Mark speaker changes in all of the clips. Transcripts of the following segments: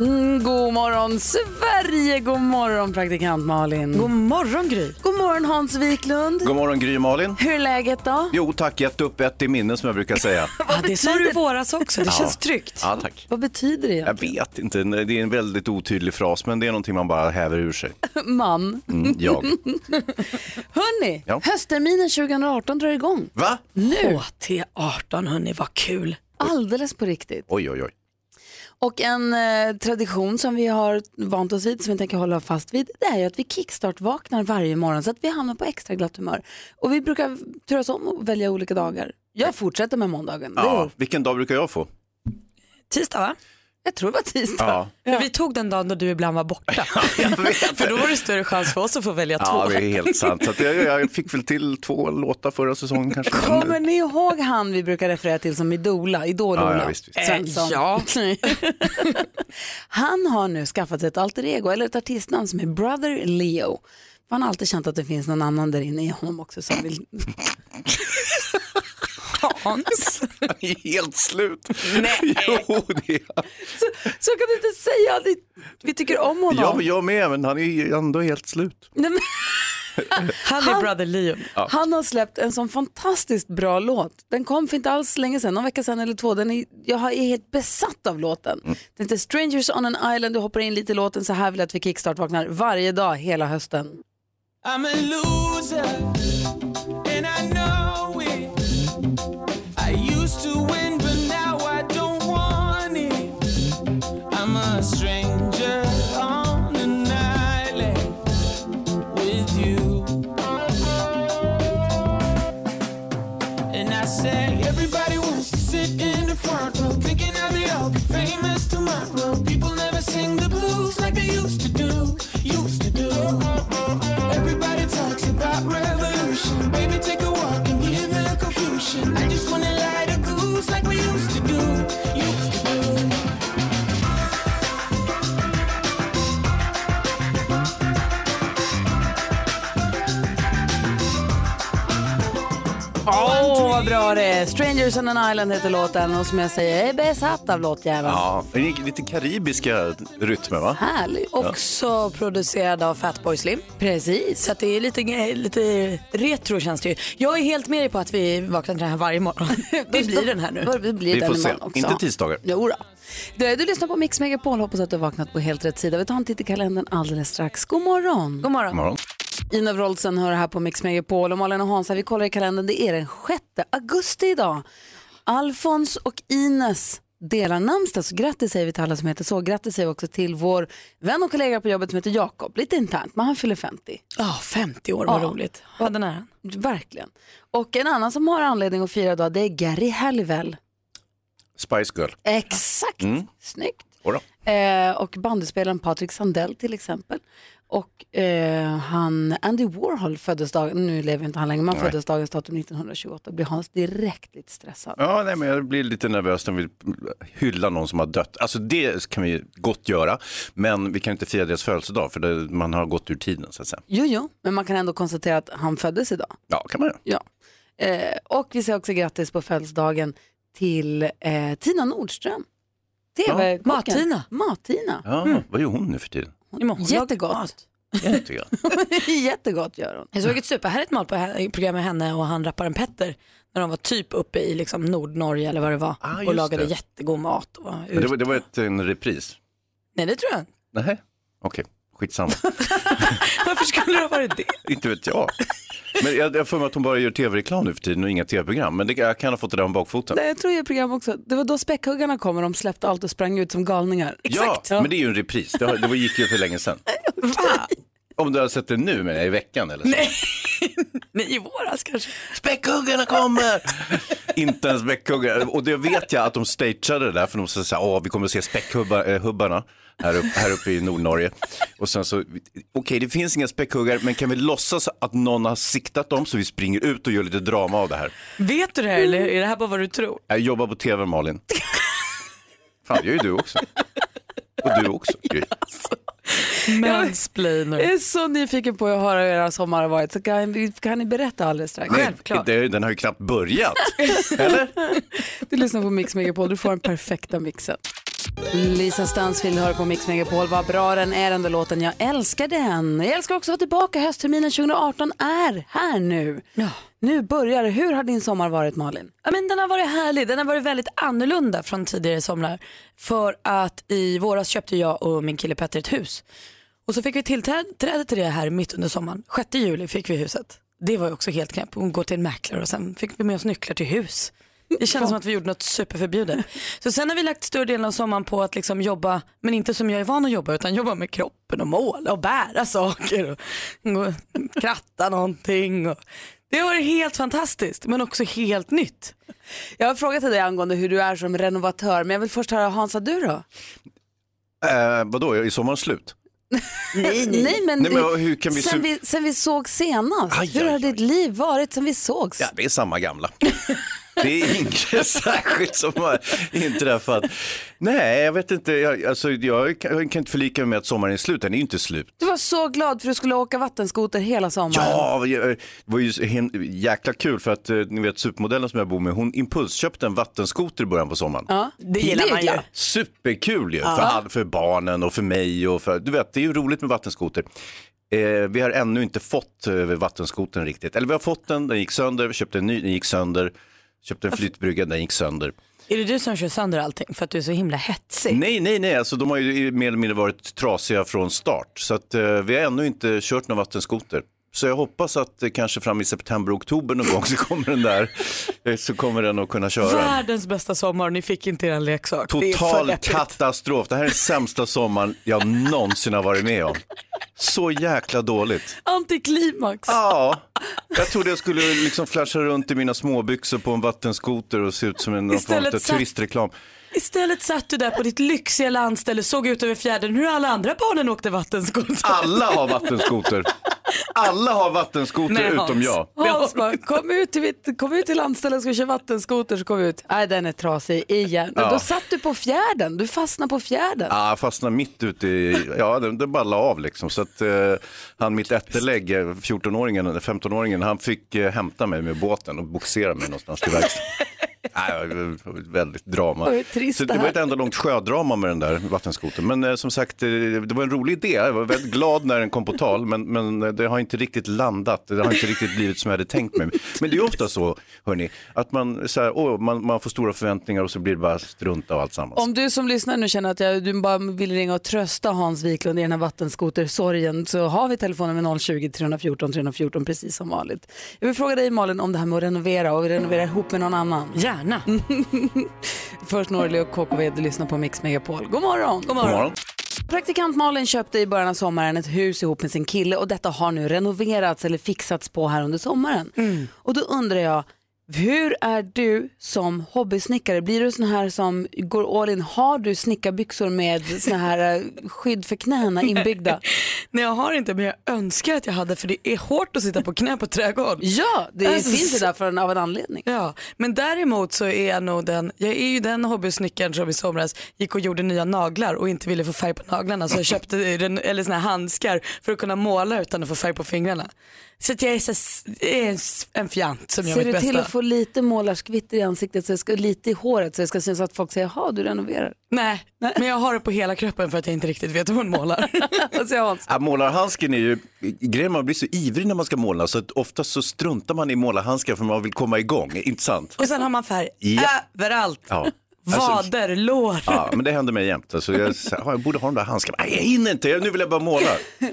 Speaker 1: Mm, god morgon Sverige, god morgon praktikant Malin. God,
Speaker 2: God morgon Gry.
Speaker 1: morgon Hans Wiklund.
Speaker 3: God morgon Gry Malin.
Speaker 1: Hur är läget då?
Speaker 3: Jo tack, gett upp ett i minne som jag brukar säga.
Speaker 2: Ja, det sa du i våras också, det känns tryggt.
Speaker 3: Ja, tack.
Speaker 1: Vad betyder det?
Speaker 3: Jag vet inte, det är en väldigt otydlig fras men det är någonting man bara häver ur sig.
Speaker 1: Man.
Speaker 3: Mm, jag.
Speaker 1: Hörni,
Speaker 3: Ja.
Speaker 1: höstterminen 2018 drar igång.
Speaker 3: Va?
Speaker 1: Nu,
Speaker 2: HT18 hörni, vad kul.
Speaker 1: alldeles på riktigt.
Speaker 3: Oj, oj, oj.
Speaker 1: Och en eh, tradition som vi har vant oss vid, som vi tänker hålla fast vid, det är ju att vi kickstart-vaknar varje morgon så att vi hamnar på extra glatt humör. Och vi brukar turas om och välja olika dagar. Jag fortsätter med måndagen.
Speaker 3: Ja,
Speaker 1: Det,
Speaker 3: vilken dag brukar jag få?
Speaker 2: Tisdag va?
Speaker 1: jag tror det var tisdag.
Speaker 3: Ja,
Speaker 2: Men Vi tog den dagen då du ibland var borta. för då var det större chans för oss att få välja
Speaker 3: ja
Speaker 2: två.
Speaker 3: det är helt sant. Så att jag, jag fick väl till två låtar förra säsongen kanske.
Speaker 1: Kommer ni ihåg han vi brukar referera till som Idola? Idol-Ola?
Speaker 3: Ja, ja, visst,
Speaker 4: Eh,
Speaker 3: visst.
Speaker 1: Svensson. han har nu skaffat sig ett alter ego, eller ett artistnamn som är Brother Leo. För han har alltid känt att det finns någon annan där inne i honom också som vill... Hans.
Speaker 3: Han är helt slut. Nej. Jo, det är han.
Speaker 1: Så, så kan du inte säga att vi- vi tycker om honom.
Speaker 3: Ja, men jag med, men han är ju ändå helt slut.
Speaker 1: Nej, men,
Speaker 2: Han är Brother Leo.
Speaker 1: Han har släppt en sån fantastiskt bra låt. Den kom för inte alls länge sedan, någon vecka sedan eller två. Den är, jag har- är helt besatt av låten. Den heter Strangers on an Island, du hoppar in lite i låten. Så här vill jag att vi kickstart-vaknar varje dag hela hösten.
Speaker 5: I'm a loser, and I know it. I used to win, but now I don't want it. I'm a stranger on an island with you. And I say, everybody wants to sit in the front row, thinking how they all be famous tomorrow. People never sing the blues like they used to do, used to do. Everybody talks about revolution. Baby, take a walk and give the confusion. I just wanna light a goose like we used to do, used to do.
Speaker 1: Åh, vad bra det är. Strangers on an Island heter låten och som jag säger, jag är besatt av låtjäveln.
Speaker 3: Ja, det är lite karibiska rytmer va?
Speaker 1: Härlig. Och
Speaker 2: Också producerad av Fatboy Slim.
Speaker 1: precis.
Speaker 2: Så att det är lite, lite retro känns det ju. Jag är helt med dig på att vi vaknar till den här varje morgon. Det blir den här nu.
Speaker 1: Vad- Det blir
Speaker 3: Vi
Speaker 1: den
Speaker 3: får se.
Speaker 1: imorgon också.
Speaker 3: Inte tisdagar.
Speaker 1: Jo då. Du, du lyssnar på Mix Megapol, hoppas att du har vaknat på helt rätt sida. Vi tar en titt i kalendern alldeles strax. God morgon!
Speaker 2: God
Speaker 3: God
Speaker 2: morgon.
Speaker 3: morgon.
Speaker 1: Ina Wroldsen hör här på Mix Megapol och Malin och Hansa, vi kollar i kalendern. Det är den 6 augusti idag. Alfons och Ines delar namnsdag, så grattis säger vi till alla som heter så. Grattis säger vi också till vår vän och kollega på jobbet som heter Jakob, lite internt, men han fyller 50.
Speaker 2: Ja, 50 år, vad
Speaker 1: Ja.
Speaker 2: roligt. Vad den är.
Speaker 1: Verkligen. Och en annan som har anledning att fira idag, det är Gary Halliwell.
Speaker 3: Spice Girl.
Speaker 1: Exakt,
Speaker 3: Mm.
Speaker 1: snyggt.
Speaker 3: Jodå.
Speaker 1: Eh, och bandespelaren Patrik Sandell till exempel. Och eh, han, Andy Warhol föddes dagen, nu lever inte han längre, men han föddes dagens datum 1928. Blir Hans direkt lite stressad.
Speaker 3: Ja, nej, men jag blir lite nervös när vi hyllar någon som har dött. Alltså det kan vi gott göra, men vi kan inte fira deras födelsedag för det, man har gått ur tiden så att säga.
Speaker 1: Jo, jo, men man kan ändå konstatera att han föddes idag.
Speaker 3: Ja, kan man göra.
Speaker 1: Ja. Eh, och vi säger också grattis på födelsedagen till eh, Tina Nordström. TV
Speaker 2: Mat-Tina.
Speaker 1: Mat-Tina.
Speaker 3: Ja,
Speaker 2: Mm.
Speaker 3: vad gör hon nu för tiden?
Speaker 1: Jättegott.
Speaker 3: Tycker jag.
Speaker 1: Jättegott gör hon.
Speaker 2: Jag såg ett superhärligt mål på he- program med henne och han rapparen Petter när de var typ uppe i liksom Nordnorge eller vad det var
Speaker 3: Ah,
Speaker 2: och
Speaker 3: just
Speaker 2: lagade
Speaker 3: det.
Speaker 2: jättegod mat. Och var
Speaker 3: Men
Speaker 2: ute.
Speaker 3: det var, det var ett, en repris.
Speaker 2: Nej det tror jag inte.
Speaker 3: Nej, okej, skitsamma.
Speaker 2: Varför skulle det ha varit det?
Speaker 3: inte vet jag. Men jag jag har för mig att hon bara gör tv-reklam nu för tiden och inga tv-program. Men det, jag kan ha fått det där om bakfoten.
Speaker 1: Nej, jag tror jag program också. Det var då späckhuggarna kom och de släppte allt och sprang ut som galningar.
Speaker 3: Ja, men det är ju en repris. Det, har, det var- gick ju för länge sedan. Om du har sett det nu, men i veckan eller så. Nej.
Speaker 2: Nej, i våras kanske.
Speaker 3: Späckhuggarna kommer! inte ens späckhuggare. Och det vet jag att de stageade det där för de sa så här, åh vi kommer att se späckhubbarna här, upp, här uppe i Nordnorge. Och sen så, okej det finns inga späckhuggare men kan vi låtsas att någon har siktat dem så vi springer ut och gör lite drama av det här.
Speaker 2: Vet du det här eller är det här bara vad du tror?
Speaker 3: Jag jobbar på tv Malin. Fan det gör ju du också. Och du också. Gry.
Speaker 2: Mansplainer.
Speaker 1: Jag är så nyfiken på att höra hur era sommar har varit. Så kan, kan ni berätta alldeles strax?
Speaker 3: Nej,
Speaker 2: Självklart.
Speaker 3: det- Den har ju knappt börjat. Eller?
Speaker 1: Du lyssnar på Mix Megapol, du får den perfekta mixen. Lisa Stansfield hör på Mix Megapol. Vad bra den är den där låten. Jag älskar den. Jag älskar också att vara tillbaka. Höstterminen 2018 är här nu.
Speaker 2: Ja.
Speaker 1: Nu börjar det. Hur har din sommar varit Malin?
Speaker 2: Ja, men den har varit härlig, den har varit väldigt annorlunda från tidigare somrar. För att i våras köpte jag och min kille Petter ett hus. Och så fick vi tillträde till det här mitt under sommaren. 6 juli fick vi huset. Det var ju också helt knäppt. Hon går till en mäklare och sen fick vi med oss nycklar till hus. Det kändes som att vi gjorde något superförbjudet. Så sen har vi lagt större delen av sommaren på att liksom jobba, men inte som jag är van att jobba, utan jobba med kroppen och måla och bära saker och, och kratta någonting. Och. Det har varit helt fantastiskt, men också helt nytt.
Speaker 1: Jag har frågat till dig angående hur du är som renovatör, men jag vill först höra Hansa, du då?
Speaker 3: Eh, vadå, är sommaren slut?
Speaker 1: Nej, nej. men,
Speaker 3: Nej, men hur kan vi
Speaker 1: sen,
Speaker 3: su-
Speaker 1: vi, sen vi såg senast,
Speaker 3: Aj,
Speaker 1: hur
Speaker 3: aj,
Speaker 1: har
Speaker 3: aj.
Speaker 1: ditt liv varit sen vi sågs?
Speaker 3: Ja, det är samma gamla. Det är inget särskilt som har inträffat. Nej, jag vet inte. Jag, alltså, jag kan jag kan inte förlika mig med att sommaren är slut. Den är ju inte slut.
Speaker 1: Du var så glad för att du skulle åka vattenskoter hela sommaren.
Speaker 3: Ja, eh, det var ju så hem- jäkla kul för att eh, ni vet supermodellen som jag bor med, hon impulsköpte en vattenskoter i början på sommaren.
Speaker 2: Det gillar man ju.
Speaker 3: Superkul ju, för, all, för barnen och för mig och för, du vet, det är ju roligt med vattenskoter. Eh, vi har ännu inte fått eh, vattenskotern riktigt. Eller vi har fått den, den gick sönder, vi köpte en ny, den gick sönder, köpte en flytbrygga, den gick sönder.
Speaker 2: Är det du som kör sönder allting för att du är så himla hetsig?
Speaker 3: Nej, nej, nej, alltså de har ju mer eller mindre varit trasiga från start. Så att eh, vi har ännu inte kört någon vattenskoter. Så jag hoppas att eh, kanske fram i september, oktober någon gång så kommer den där, eh, så kommer den att kunna köra. den.
Speaker 2: Världens bästa sommar, ni fick inte er leksak. det är för
Speaker 3: Total
Speaker 2: deppigt.
Speaker 3: katastrof. Det här är den sämsta sommaren jag någonsin har varit med om. Så jäkla dåligt.
Speaker 1: Antiklimax.
Speaker 3: Ja, jag trodde jag skulle liksom flasha runt i mina småbyxor på en vattenskoter och se ut som en någon form av
Speaker 2: Istället satt-
Speaker 3: turistreklam.
Speaker 2: Istället satt du där på ditt lyxiga landställe, såg ut över fjärden hur alla andra barnen åkte vattenskoter.
Speaker 3: Alla har vattenskoter. Alla har vattenskoter
Speaker 2: Nej, Hans.
Speaker 3: utom jag.
Speaker 1: Hans bara, kom ut till, mitt, kom ut till landstället och ska vi köra vattenskoter så kom vi ut. Nej, den är trasig igen. Men Då satt du på fjärden, du fastnade på fjärden.
Speaker 3: Ja, jag fastnade mitt ute i, ja den, den ballade av liksom. Så att eh, han mitt ättelägg, eh, 14-åringen, eller 15-åringen, han fick eh, hämta mig med båten och boxera mig någonstans till verkstaden. Nej, det var väldigt drama.
Speaker 1: Vad trist
Speaker 3: så det
Speaker 1: det
Speaker 3: var
Speaker 1: här.
Speaker 3: ett enda långt sjödrama med den där vattenskotern. Men eh, som sagt, eh, det var en rolig idé. Jag var väldigt glad när den kom på tal, men, men eh, det har inte riktigt landat. Det har inte riktigt blivit som jag hade tänkt mig. Men det är ju ofta så, hörni, att man, så här, åh, man, man får stora förväntningar och så blir det bara strunt av alltsammans.
Speaker 1: Om du som lyssnar nu känner att jag, du bara vill ringa och trösta Hans Wiklund i den här vattenskotersorgen så har vi telefonen med 020 314 314 precis som vanligt. Jag vill fråga dig Malin om det här med att renovera och renovera ihop med någon annan.
Speaker 2: Gärna.
Speaker 1: Först Norli och KKV, du lyssnar på Mix Megapol. God morgon!
Speaker 2: God
Speaker 3: God
Speaker 2: morgon.
Speaker 3: morgon.
Speaker 1: Praktikant Malin köpte i början av sommaren ett hus ihop med sin kille och detta har nu renoverats eller fixats på här under sommaren.
Speaker 2: Mm.
Speaker 1: Och då undrar jag, hur är du som hobbysnickare? Blir du sån här som går all in? Har du snickarbyxor med sån här eh, skydd för knäna inbyggda?
Speaker 2: Nej jag har inte men jag önskar att jag hade för det är hårt att sitta på knä på trädgård.
Speaker 1: Ja, det
Speaker 2: Alltså,
Speaker 1: finns
Speaker 2: så-
Speaker 1: det där för en, av en anledning.
Speaker 2: Ja, men däremot så är jag nog den, jag är ju den hobbysnickaren som i somras gick och gjorde nya naglar och inte ville få färg på naglarna så jag köpte den, eller såna här handskar för att kunna måla utan att få färg på fingrarna. Så att jag är, så, är en, en fjant som gör
Speaker 1: Ser
Speaker 2: mitt
Speaker 1: du till
Speaker 2: bästa.
Speaker 1: att få lite målarskvitter i ansiktet, så det ska, lite i håret så det ska synas att folk säger, jaha du renoverar.
Speaker 2: Nej, men jag har det på hela kroppen för att jag inte riktigt vet hur man målar.
Speaker 1: Alltså, jag har
Speaker 3: Ja, målarhandsken är ju, grejen man blir så ivrig när man ska måla så att oftast så struntar man i målarhandsken för man vill komma igång, inte sant?
Speaker 2: och sen har man färg
Speaker 3: Ja.
Speaker 2: överallt.
Speaker 3: Ja. Alltså,
Speaker 2: Vader, lår.
Speaker 3: ja, men det händer mig jämt. Alltså, jag, så här, "Ah, jag borde ha de där handskarna. Nej, jag hinner inte. Jag- Nu vill jag bara måla.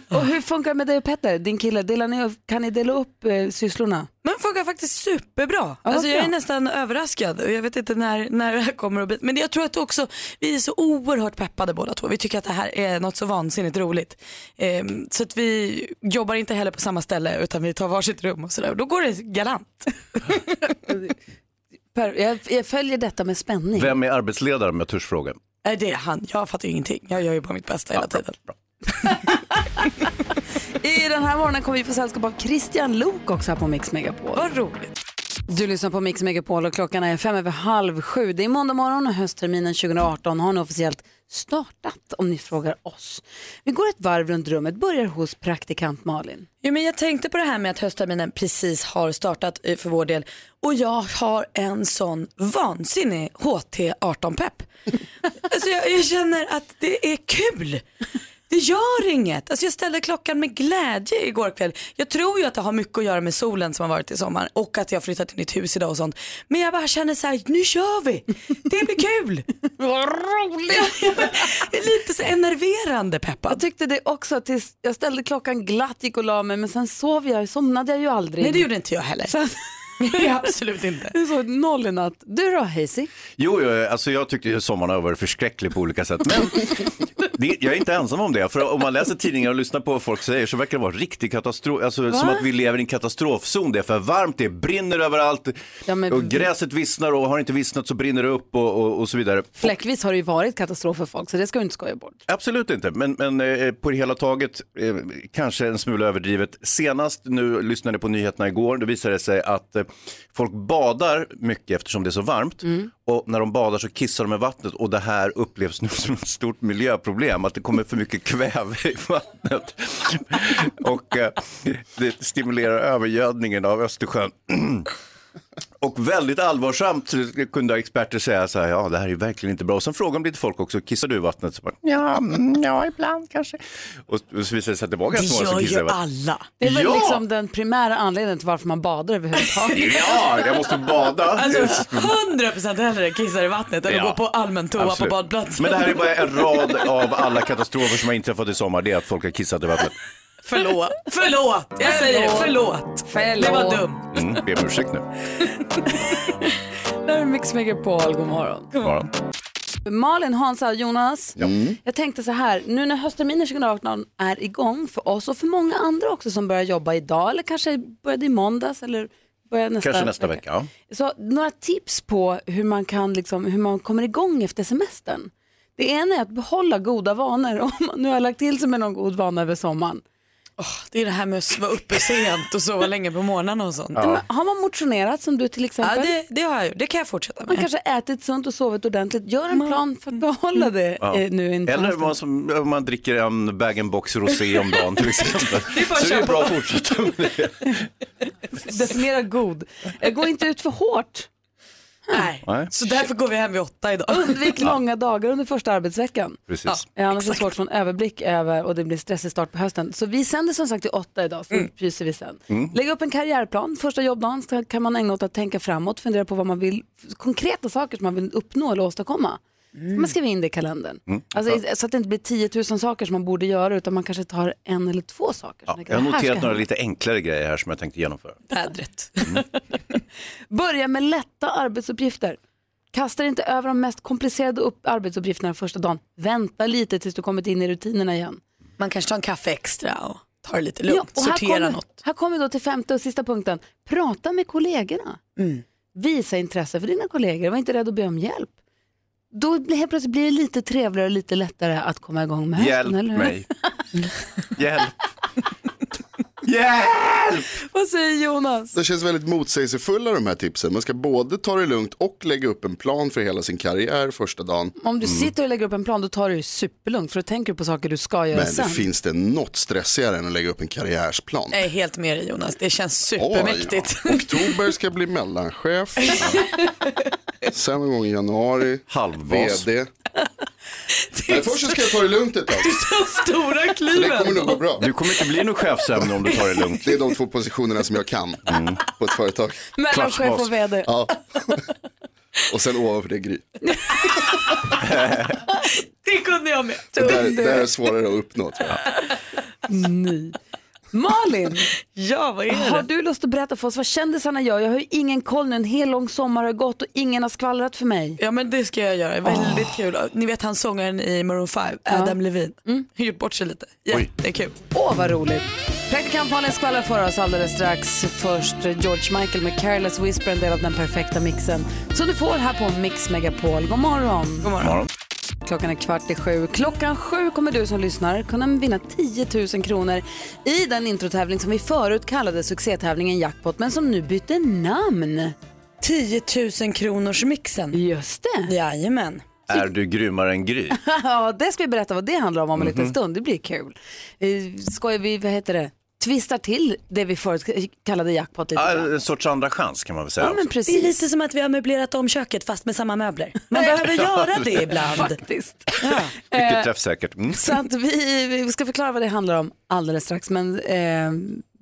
Speaker 1: Och hur funkar det med dig och Petter, din kille? Delar ni, upp- kan ni dela upp eh, sysslorna?
Speaker 2: Men funkar faktiskt superbra.
Speaker 1: vad
Speaker 2: alltså jag
Speaker 1: bra.
Speaker 2: är nästan överraskad och jag vet inte när, när det här kommer att bli. Men jag tror att också, vi är så oerhört peppade båda två. Vi tycker att det här är något så vansinnigt roligt. Ehm, så att vi jobbar inte heller på samma ställe utan vi tar varsitt rum och sådär. Och Då går det galant.
Speaker 1: Per, jag, jag följer detta med spänning.
Speaker 3: Vem är arbetsledare med tursfrågan?
Speaker 2: Nej Äh, det är han, jag fattar ju ingenting. Jag gör ju bara mitt bästa hela tiden.
Speaker 1: I den här morgonen kommer vi få sällskap av Christian Lok också här på Mix Megapol.
Speaker 2: Vad roligt.
Speaker 1: Du lyssnar på Mix Megapol och klockan är fem över halv sju. Det är måndag morgon och höstterminen 2018 har nu officiellt startat om ni frågar oss. Vi går ett varv runt rummet, börjar hos praktikant Malin.
Speaker 2: Jo, men jag tänkte på det här med att höstterminen precis har startat eh, för vår del och jag har en sån vansinnig HT18-pepp. Alltså jag, jag känner att det är kul. Det gör inget. Alltså jag ställde klockan med glädje igår kväll. Jag tror ju att det har mycket att göra med solen som har varit i sommar och att jag har flyttat till nytt hus idag och sånt. Men jag bara känner så här, nu kör vi. Det blir kul. Det är lite så enerverande
Speaker 1: Jag
Speaker 2: peppad.
Speaker 1: tyckte det också tills jag ställde klockan glatt, gick och la mig men sen sov jag, somnade jag ju aldrig.
Speaker 2: Nej det gjorde inte jag heller. Nej, absolut inte.
Speaker 1: Du sov noll i natt. Du då Hazy?
Speaker 3: Jo, jo, alltså jag tyckte ju sommaren har varit förskräcklig på olika sätt. Men det, jag är inte ensam om det. För om man läser tidningar och lyssnar på vad folk säger så verkar det vara riktig katastrof. Alltså, som att vi lever i en katastrofzon. Det är för varmt, det brinner överallt.
Speaker 1: Ja, men-
Speaker 3: Och gräset vissnar och har inte vissnat så brinner det upp och, och, och så vidare.
Speaker 1: Fläckvis har det ju varit katastrof för folk så det ska du inte skoja bort.
Speaker 3: Absolut inte, men, men eh, på det hela taget eh, kanske en smula överdrivet. Senast nu lyssnade jag på nyheterna igår, då visade det sig att eh, folk badar mycket eftersom det är så varmt och när de badar så kissar de i vattnet och det här upplevs nu som ett stort miljöproblem, att det kommer för mycket kväve i vattnet och eh, det stimulerar övergödningen av Östersjön. Och väldigt allvarsamt kunde experter säga så här, ja det här är verkligen inte bra. Och sen frågade lite folk också, kissar du i vattnet? Så bara, ja, mm, ja, ibland kanske. Och, och så visade det sig att det var ganska många som kissade i vattnet.
Speaker 2: alla.
Speaker 1: Det är väl
Speaker 3: Ja!
Speaker 1: liksom den primära anledningen till varför man badar överhuvudtaget.
Speaker 3: Ja, jag måste bada.
Speaker 2: Alltså 100% hellre kissar i vattnet än att
Speaker 3: Ja.
Speaker 2: gå på allmän toa
Speaker 3: Absolut.
Speaker 2: på badplatsen.
Speaker 3: Men det här är bara en rad av alla katastrofer som har inträffat i sommar, det är att folk har kissat i vattnet.
Speaker 2: Förlåt, förlåt, jag säger det, förlåt.
Speaker 1: Förlåt.
Speaker 2: Det var dumt.
Speaker 3: Mm, be om ursäkt nu.
Speaker 1: Det här är Mix Megapol, god morgon.
Speaker 3: Bara.
Speaker 1: Malin, Hansa och Jonas.
Speaker 3: Mm.
Speaker 1: Jag tänkte så här, nu när höstterminen 2018 är igång för oss och för många andra också som börjar jobba idag eller kanske började i måndags eller börjar nästa,
Speaker 3: Kanske nästa vecka. Ja.
Speaker 1: Så några tips på hur man, kan liksom, hur man kommer igång efter semestern. Det ena är att behålla goda vanor om man nu har lagt till sig med någon god vana över sommaren.
Speaker 2: Det är det här med att vara uppe sent och sova länge på morgonen och sånt.
Speaker 1: Men Har man motionerat som du till
Speaker 2: Ja,
Speaker 1: exempel,
Speaker 2: det, det har jag gjort, det kan jag fortsätta
Speaker 1: man
Speaker 2: med.
Speaker 1: kanske ätit sunt och sovit ordentligt, gör en plan för att behålla det
Speaker 3: Mm. Ja.
Speaker 1: eh, nu inför
Speaker 3: Eller
Speaker 1: hösten.
Speaker 3: vad som, om man dricker en bag-in-box rosé om dagen till exempel.
Speaker 2: bara
Speaker 3: så det
Speaker 2: köpa.
Speaker 3: är bra att fortsätta med det.
Speaker 1: Definiera god. Eh, Gå inte ut för hårt.
Speaker 2: Nej.
Speaker 3: Nej.
Speaker 2: Så därför går vi hem vid åtta idag.
Speaker 1: Undvik långa dagar under första arbetsveckan.
Speaker 3: Precis.
Speaker 1: Eh, Annars är det svårt att få en överblick över och det blir stressig start på hösten. Så vi sänder som sagt till åtta idag, så
Speaker 3: Mm.
Speaker 1: pyser vi sen. Lägg upp en karriärplan. Första jobbdagen ska- kan man ägna åt att tänka framåt, fundera på vad man vill, konkreta saker som man vill uppnå eller åstadkomma.
Speaker 3: Mm.
Speaker 1: Man skriver in det i kalendern. Alltså, i- Så att det inte blir 10 000 saker som man borde göra utan man kanske tar en eller två saker. som
Speaker 3: Ja,
Speaker 1: man tänker,
Speaker 3: jag har
Speaker 1: "Det här ska
Speaker 3: noterat några
Speaker 1: hända."
Speaker 3: lite enklare grejer här som jag tänkte genomföra.
Speaker 2: Vädret.
Speaker 1: Börja med lätta arbetsuppgifter. Kasta dig inte över de mest komplicerade upp- arbetsuppgifterna första dagen. Vänta lite tills du kommit in i rutinerna igen.
Speaker 2: Man kanske tar en kaffe extra och tar det lite lugnt,
Speaker 1: och här
Speaker 2: sortera
Speaker 1: kommer,
Speaker 2: något.
Speaker 1: Här kommer då till femte och sista punkten. Prata med kollegorna. Visa intresse för dina kollegor. Var inte rädd att be om hjälp. Då blir- helt plötsligt blir det lite trevligare och lite lättare att komma igång med
Speaker 3: Hjälp
Speaker 1: hösten. eller hur?
Speaker 3: mig. Hjälp. Hjälp!
Speaker 1: Vad säger Jonas?
Speaker 6: Det känns väldigt motsägelsefulla de här tipsen. Man ska både ta det lugnt och lägga upp en plan för hela sin karriär första dagen.
Speaker 1: Om du sitter och lägger upp en plan då tar du det superlugnt för då tänker du på saker du ska göra
Speaker 6: Men
Speaker 1: sen.
Speaker 6: det finns det något stressigare än att lägga upp en karriärsplan?
Speaker 2: Jag är helt med dig Jonas, det känns
Speaker 6: Oj,
Speaker 2: supermäktigt.
Speaker 6: ja. Oktober ska bli mellanchef. Sen någon gång i januari.
Speaker 3: Halvbas.
Speaker 6: VD. Men först så ska jag ta det lugnt ett tag.
Speaker 2: Stora
Speaker 6: Det kommer
Speaker 2: kliven.
Speaker 6: nog gå bra.
Speaker 3: Du kommer inte bli någon chefsämne om du tar det lugnt.
Speaker 6: Det är de två positionerna som jag kan på ett företag.
Speaker 1: Mellanchef
Speaker 3: Klatschbas.
Speaker 1: och vd.
Speaker 6: Ja. Och sen ovanför det Gry.
Speaker 2: Det kunde jag med.
Speaker 6: Det där, det där är svårare att uppnå tror jag.
Speaker 1: Ny. Malin,
Speaker 2: Ja, vad är
Speaker 1: har
Speaker 2: det?
Speaker 1: du lust att berätta för oss vad kändisarna gör? Jag har ju ingen koll nu, en hel lång sommar har gått och ingen har skvallrat för mig.
Speaker 2: Ja men det ska jag göra, väldigt kul. Ni vet han sångaren i Maroon 5, Adam Levine. Har gjort bort sig lite, jättekul.
Speaker 1: Åh vad roligt! Praktikant Malin skvallrar för oss alldeles strax. Först George Michael med Careless Whisper, en del av den perfekta mixen. Som du får här på Mix Megapol. God morgon!
Speaker 2: God morgon.
Speaker 1: Klockan är kvart i sju. Klockan sju kommer du som lyssnar kunna vinna 10 000 kronor i den introtävling som vi förut kallade succétävlingen Jackpot, men som nu bytte namn.
Speaker 2: 10 000 kronors mixen.
Speaker 1: Just det.
Speaker 2: Jajamän.
Speaker 3: Är du grymmare än Gry?
Speaker 1: Ja, det ska vi berätta vad det handlar om om en
Speaker 3: Mhm.
Speaker 1: liten stund. Det blir kul. Eh, Skojar vi, vad heter det, twistar till det vi förut kallade jackpot lite
Speaker 3: Ja,
Speaker 1: grann.
Speaker 3: Ah, en sorts andra chans kan man väl säga.
Speaker 1: Ja, men
Speaker 3: också.
Speaker 2: Det är
Speaker 1: precis.
Speaker 2: lite som att vi har möblerat om köket fast med samma möbler. Man behöver göra det ibland.
Speaker 1: Faktiskt.
Speaker 3: Mycket träffsäkert. Mm.
Speaker 1: Så att vi, vi ska förklara vad det handlar om alldeles strax. Men eh,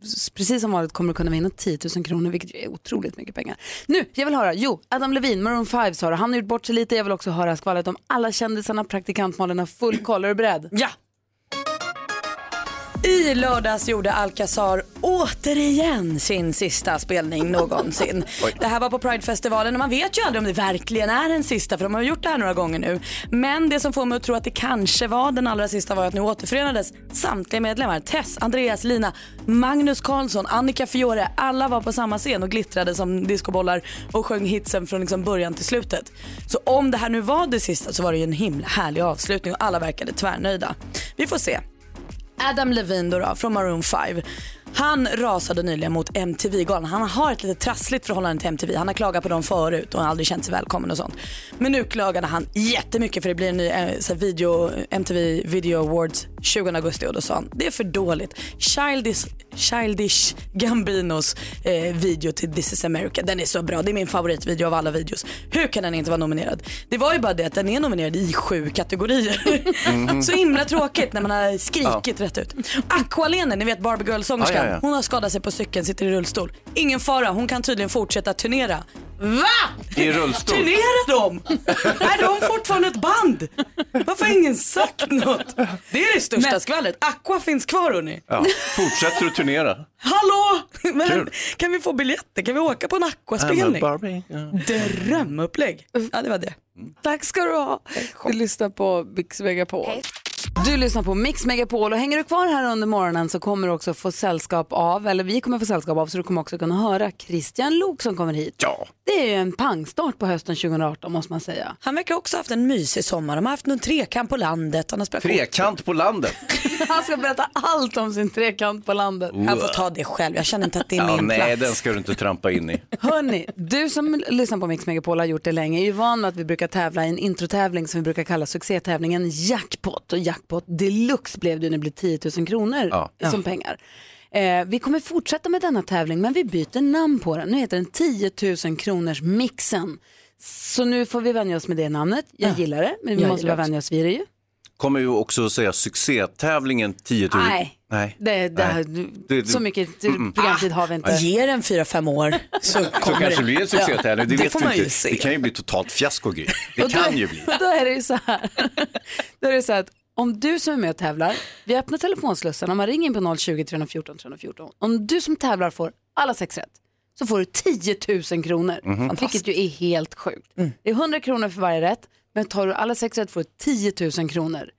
Speaker 1: s- precis som vanligt kommer du kunna vinna 10 000 kronor, vilket ju är otroligt mycket pengar. Nu, jag vill höra, jo, Adam Levin, Maroon 5 sa du. Han har gjort bort sig lite. Jag vill också höra skvallret om alla kändisarna, praktikantmalen har full koll. Är du beredd?
Speaker 2: Ja. I lördags gjorde Alcazar återigen sin sista spelning någonsin. det här var på Pridefestivalen och man vet ju aldrig om det verkligen är den sista för de har gjort det här några gånger nu. Men det som får mig att tro att det kanske var den allra sista var att nu återförenades samtliga medlemmar. Tess, Andreas, Lina, Magnus Karlsson, Annika Fiore. Alla var på samma scen och glittrade som discobollar och sjöng hitsen från liksom början till slutet. Så om det här nu var det sista så var det ju en himla härlig avslutning och alla verkade tvärnöjda. Vi får se. Adam Levine då, då från Maroon 5. Han rasade nyligen mot MTV-galan. Han har ett lite trassligt förhållande till MTV. Han har klagat på dem förut och har aldrig känt sig välkommen och sånt. Men nu klagade han jättemycket för det blir en ny eh, så här, video, MTV Video Awards 20 augusti och då sa han det är för dåligt. Childish, Childish Gambinos eh, video till This is America, den är så bra. Det är min favoritvideo av alla videos. Hur kan den inte vara nominerad? Det var ju bara det att den är nominerad i sju kategorier.
Speaker 3: Mhm.
Speaker 2: så himla tråkigt när man har skrikit rätt ut. Aqualene, ni vet Barbie Girl-sångerskan,
Speaker 3: Ja, ja, ja.
Speaker 2: hon har skadat sig på cykeln, sitter i rullstol. Ingen fara, hon kan tydligen fortsätta turnera. Va?
Speaker 3: I rullstol.
Speaker 2: Turnera dem! är de fortfarande ett band? Varför har ingen sagt något? Det är det största skvallret. Aqua finns kvar hörni.
Speaker 3: Ja. Fortsätter du turnera?
Speaker 2: Hallå! Men,
Speaker 3: Kul.
Speaker 2: Kan vi få biljetter? Kan vi åka på en
Speaker 3: I'm a
Speaker 2: Aqua-spelning?
Speaker 3: Barbie. Ja.
Speaker 2: Drömupplägg. Ja det var det.
Speaker 1: Tack ska du ha. Du lyssnar på Mix Megapol. Du lyssnar på Mix Megapol och hänger du kvar här under morgonen så kommer du också få sällskap av, eller vi kommer få sällskap av, så du kommer också kunna höra Christian Lok som kommer hit.
Speaker 3: Ja.
Speaker 1: Det är ju en pangstart på hösten 2018 måste man säga.
Speaker 2: Han verkar också ha haft en mysig sommar. De har haft någon trekant på landet. Han har spelat
Speaker 3: Trekant på landet.
Speaker 1: Han ska berätta allt om sin trekant på landet.
Speaker 2: Han får ta det själv. Jag känner inte att det är
Speaker 3: Ja,
Speaker 2: min
Speaker 3: nej,
Speaker 2: plats.
Speaker 3: den ska du inte trampa in i.
Speaker 1: Hörni, du som lyssnar på Mix Megapol har gjort det länge är ju van med att vi brukar tävla i en introtävling som vi brukar kalla succétävlingen Jackpot. Och Jackpot deluxe blev det ju när det blev 10 000 kronor
Speaker 3: Ja.
Speaker 1: som pengar. Eh, vi kommer fortsätta med denna tävling men vi byter namn på den. Nu heter den 10 000 kronors mixen. Så nu får vi vänja oss med det namnet. Jag gillar det, men vi
Speaker 2: Jag
Speaker 1: måste
Speaker 2: gillar
Speaker 1: bara
Speaker 2: det också.
Speaker 1: vänja oss vid det ju.
Speaker 3: Kommer ju också att säga succétävlingen 10 000.
Speaker 1: Nej.
Speaker 3: nej.
Speaker 1: Det, det, här-
Speaker 3: Det- det-
Speaker 1: så mycket programtid har vi inte.
Speaker 2: Ge den fyra, fem år så
Speaker 3: Så
Speaker 2: kommer
Speaker 3: kanske det blir en succétävling, det,
Speaker 2: Det
Speaker 3: vet
Speaker 2: får
Speaker 3: vi
Speaker 2: man ju
Speaker 3: inte.
Speaker 2: se.
Speaker 3: Det kan ju bli totalt fiasko Gry. Det kan ju bli.
Speaker 1: Då är det ju så här. Då är det så här att om du som är med och tävlar, vi öppnar telefonslussarna, man ringer in på 020 314 314. Om du som tävlar får alla sex rätt så får du 10 000 kronor,
Speaker 3: Mhm.
Speaker 1: vilket ju är helt sjukt. Det är 100 kronor för varje rätt, men tar du alla sex rätt får du 10 000 kronor.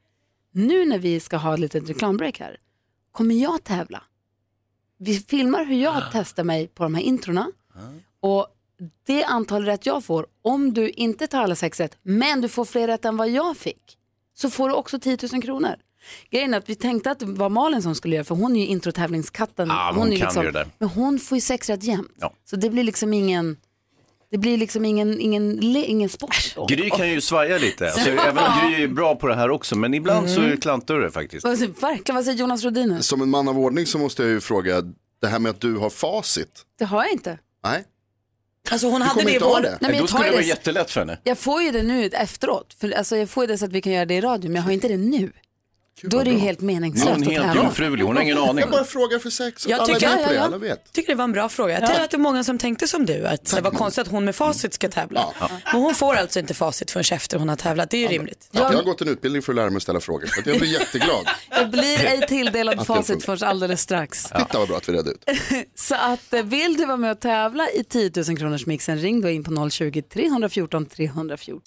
Speaker 1: Nu när vi ska ha ett litet reklambreak här, kommer jag tävla? Vi filmar hur
Speaker 3: Ah.
Speaker 1: jag testar mig på de här introna. Och det antal rätt jag får, om du inte tar alla sex rätt, men du får fler rätt än vad jag fick, så får du också 10 000 kronor. Grejen är att vi tänkte att det var Malin som skulle göra, för hon är ju introtävlingskatten.
Speaker 3: Ja, men hon
Speaker 1: är liksom-
Speaker 3: kan ju det där.
Speaker 1: Men hon får ju sex rätt jämt.
Speaker 3: Ja.
Speaker 1: Så det blir liksom ingen, det blir liksom ingen, ingen, le- ingen sport.
Speaker 3: Gry kan ju svaja lite, alltså, även om Gry är bra på det här också, men ibland så klantar du det faktiskt.
Speaker 1: Vad säger- Verkligen, vad säger Jonas Rodiner?
Speaker 6: Som en man av ordning så måste jag ju fråga, det här med att du har facit.
Speaker 1: Det har jag inte.
Speaker 6: Nej,
Speaker 2: Alltså hon hade
Speaker 6: kommer
Speaker 2: det i
Speaker 6: inte ha
Speaker 2: vår...
Speaker 6: det.
Speaker 1: Nej, men
Speaker 3: Då
Speaker 1: jag, tar
Speaker 3: skulle det vara
Speaker 1: det,
Speaker 3: jättelätt för henne.
Speaker 1: jag får ju det nu efteråt, för, alltså, jag får ju det så att vi kan göra det i radio, men jag har inte det nu. Då är det ju helt
Speaker 3: Hon
Speaker 1: meningslöst
Speaker 3: är
Speaker 1: att
Speaker 3: helt
Speaker 1: tävla.
Speaker 3: jungfrulig, hon har ingen aning.
Speaker 6: Jag bara frågar för sex, så att
Speaker 2: Jag
Speaker 6: alla
Speaker 2: tycker-
Speaker 6: är med
Speaker 2: ja,
Speaker 6: på det,
Speaker 2: ja, ja.
Speaker 6: alla vet.
Speaker 2: tycker det var en bra fråga. Jag tror att det är många som tänkte som du, att det var konstigt att hon med facit ska tävla. Men hon får alltså inte facit förrän efter hon har tävlat, det är ju rimligt.
Speaker 6: Att jag har gått en utbildning för att lära mig att ställa frågor, så att jag blir jätteglad.
Speaker 1: Jag blir ej tilldelad
Speaker 6: det
Speaker 1: facit
Speaker 6: funkar.
Speaker 1: först alldeles strax.
Speaker 6: Titta vad bra att vi redde ut.
Speaker 1: Så att eh, vill du vara med och tävla i 10 000 kronors mixen ring då in på 020-314 314.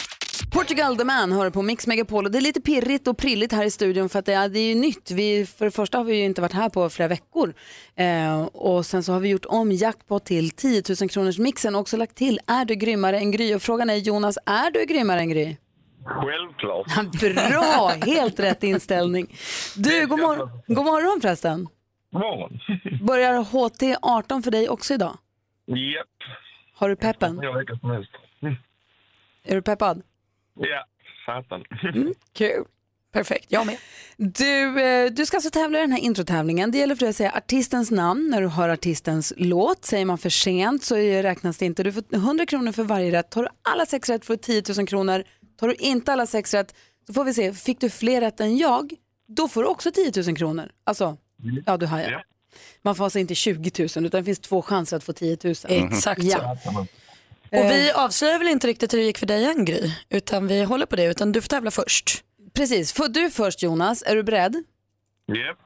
Speaker 1: Portugal the Man hör på Mix Megapol och det är lite pirrigt och prilligt här i studion för att det är, det är ju nytt. Vi, för det första har vi ju inte varit här på flera veckor eh, och sen så har vi gjort om jackpot till 10 000 kronors mixen och också lagt till är du grymmare än Gry och frågan är Jonas, är du grymmare än Gry?
Speaker 7: Självklart.
Speaker 1: Bra, helt rätt inställning. Du, god, mor- god morgon förresten.
Speaker 7: God morgon.
Speaker 1: Börjar HT 18 för dig också idag?
Speaker 7: Japp,
Speaker 1: Har du peppen?
Speaker 7: jag vilka som helst. Mm.
Speaker 1: Är du peppad? Mm,
Speaker 7: Ja, satan.
Speaker 1: Kul.
Speaker 2: Perfekt, jag med.
Speaker 1: Du, eh, du ska alltså tävla i den här introtävlingen. Det gäller för dig att säga artistens namn när du hör artistens låt. Säger man för sent så är- räknas det inte. Du får 100 kronor för varje rätt. Tar du alla sex rätt får du 10 000 kronor. Tar du inte alla sex rätt så får vi se, fick du fler rätt än jag? Då får du också 10 000 kronor. Alltså, ja du hajar.
Speaker 7: Mm. Ja.
Speaker 1: Man får alltså inte 20 000 utan det finns två chanser att få 10 000.
Speaker 2: Exakt så.
Speaker 1: Ja.
Speaker 2: Och vi avslöjar väl inte riktigt hur det gick för dig än Gry, utan vi håller på det, utan du får tävla först.
Speaker 1: Precis, får du först Jonas, är du beredd?
Speaker 7: Japp.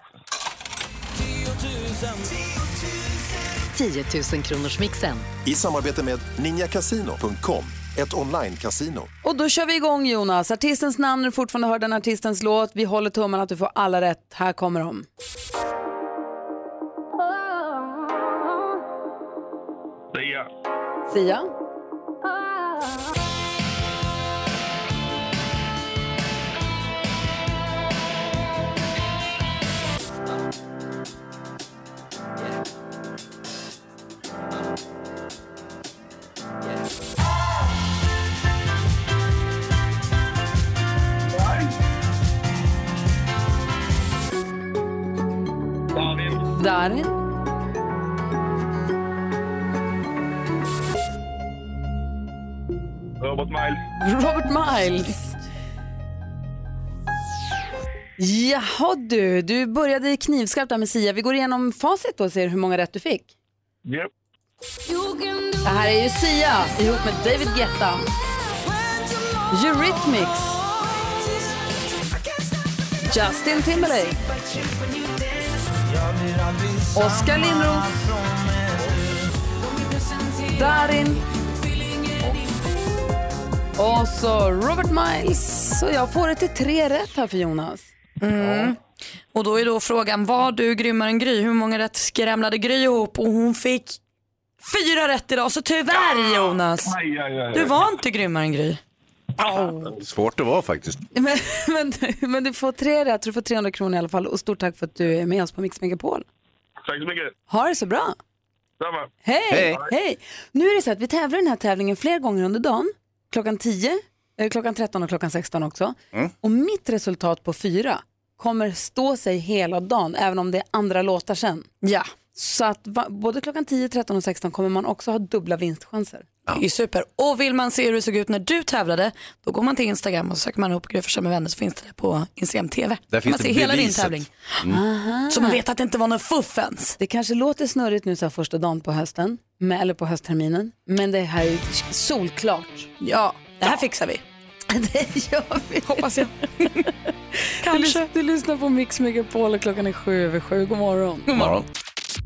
Speaker 8: 10 000 kronors mixen.
Speaker 9: I samarbete med ninjakasino.com, ett online-casino.
Speaker 1: Och då kör vi igång Jonas. Artistens namn när du fortfarande hör den artistens låt. Vi håller tummarna att du får alla rätt. Här kommer de.
Speaker 7: Det är jag.
Speaker 1: Sia,
Speaker 7: Darin.
Speaker 1: Darin,
Speaker 7: Robert Miles.
Speaker 1: Robert Miles. Jaha du, du började knivskarpt där med Sia. Vi går igenom facit då och ser hur många rätt du fick.
Speaker 7: Japp.
Speaker 1: Det här är ju Sia ihop med David Guetta. Eurythmics. Justin Timberlake. Oskar Lindros. Darin. Och så Robert Miles. Så jag får det till tre rätt här för Jonas.
Speaker 2: Och då är då frågan, var du grymmare än Gry? Hur många rätt skramlade Gry ihop? Och hon fick fyra rätt idag, så tyvärr Jonas.
Speaker 7: Aj, aj, aj.
Speaker 2: Du var inte grymmare än Gry.
Speaker 3: Svårt att vara faktiskt.
Speaker 1: Men, men, men du får tre rätt, du får 300 kronor i alla fall. Och stort tack för att du är med oss på Mix Megapol.
Speaker 7: Tack så mycket.
Speaker 1: Ha det så bra.
Speaker 7: Samma.
Speaker 1: Hej! Hej!
Speaker 3: Hej.
Speaker 1: Nu är det så att vi tävlar i den här tävlingen fler gånger under dagen. Klockan 10, eh, klockan 13 och klockan 16 också. Och mitt resultat på fyra kommer stå sig hela dagen, även om det är andra låtar sen.
Speaker 2: Ja,
Speaker 1: Så att va, både klockan 10, 13 och 16 kommer man också ha dubbla vinstchanser.
Speaker 2: det är super. Och vill man se hur det såg ut när du tävlade, då går man till Instagram och söker man ihop Gry Forssell med vänner så finns det på Instagram TV.
Speaker 3: Där finns
Speaker 2: man
Speaker 3: det
Speaker 2: ser hela din
Speaker 3: beviset. Mm.
Speaker 2: tävling. Så man vet att det inte var någon fuffens.
Speaker 1: Det kanske låter snurrigt nu så här första dagen på hösten, med, eller på höstterminen, men det här är ju solklart.
Speaker 2: Ja, det här fixar vi.
Speaker 1: Det gör vi.
Speaker 2: Hoppas jag.
Speaker 1: Du, lys- du lyssnar på Mix Megapol och klockan är sju över sju. God morgon.
Speaker 3: Morgon.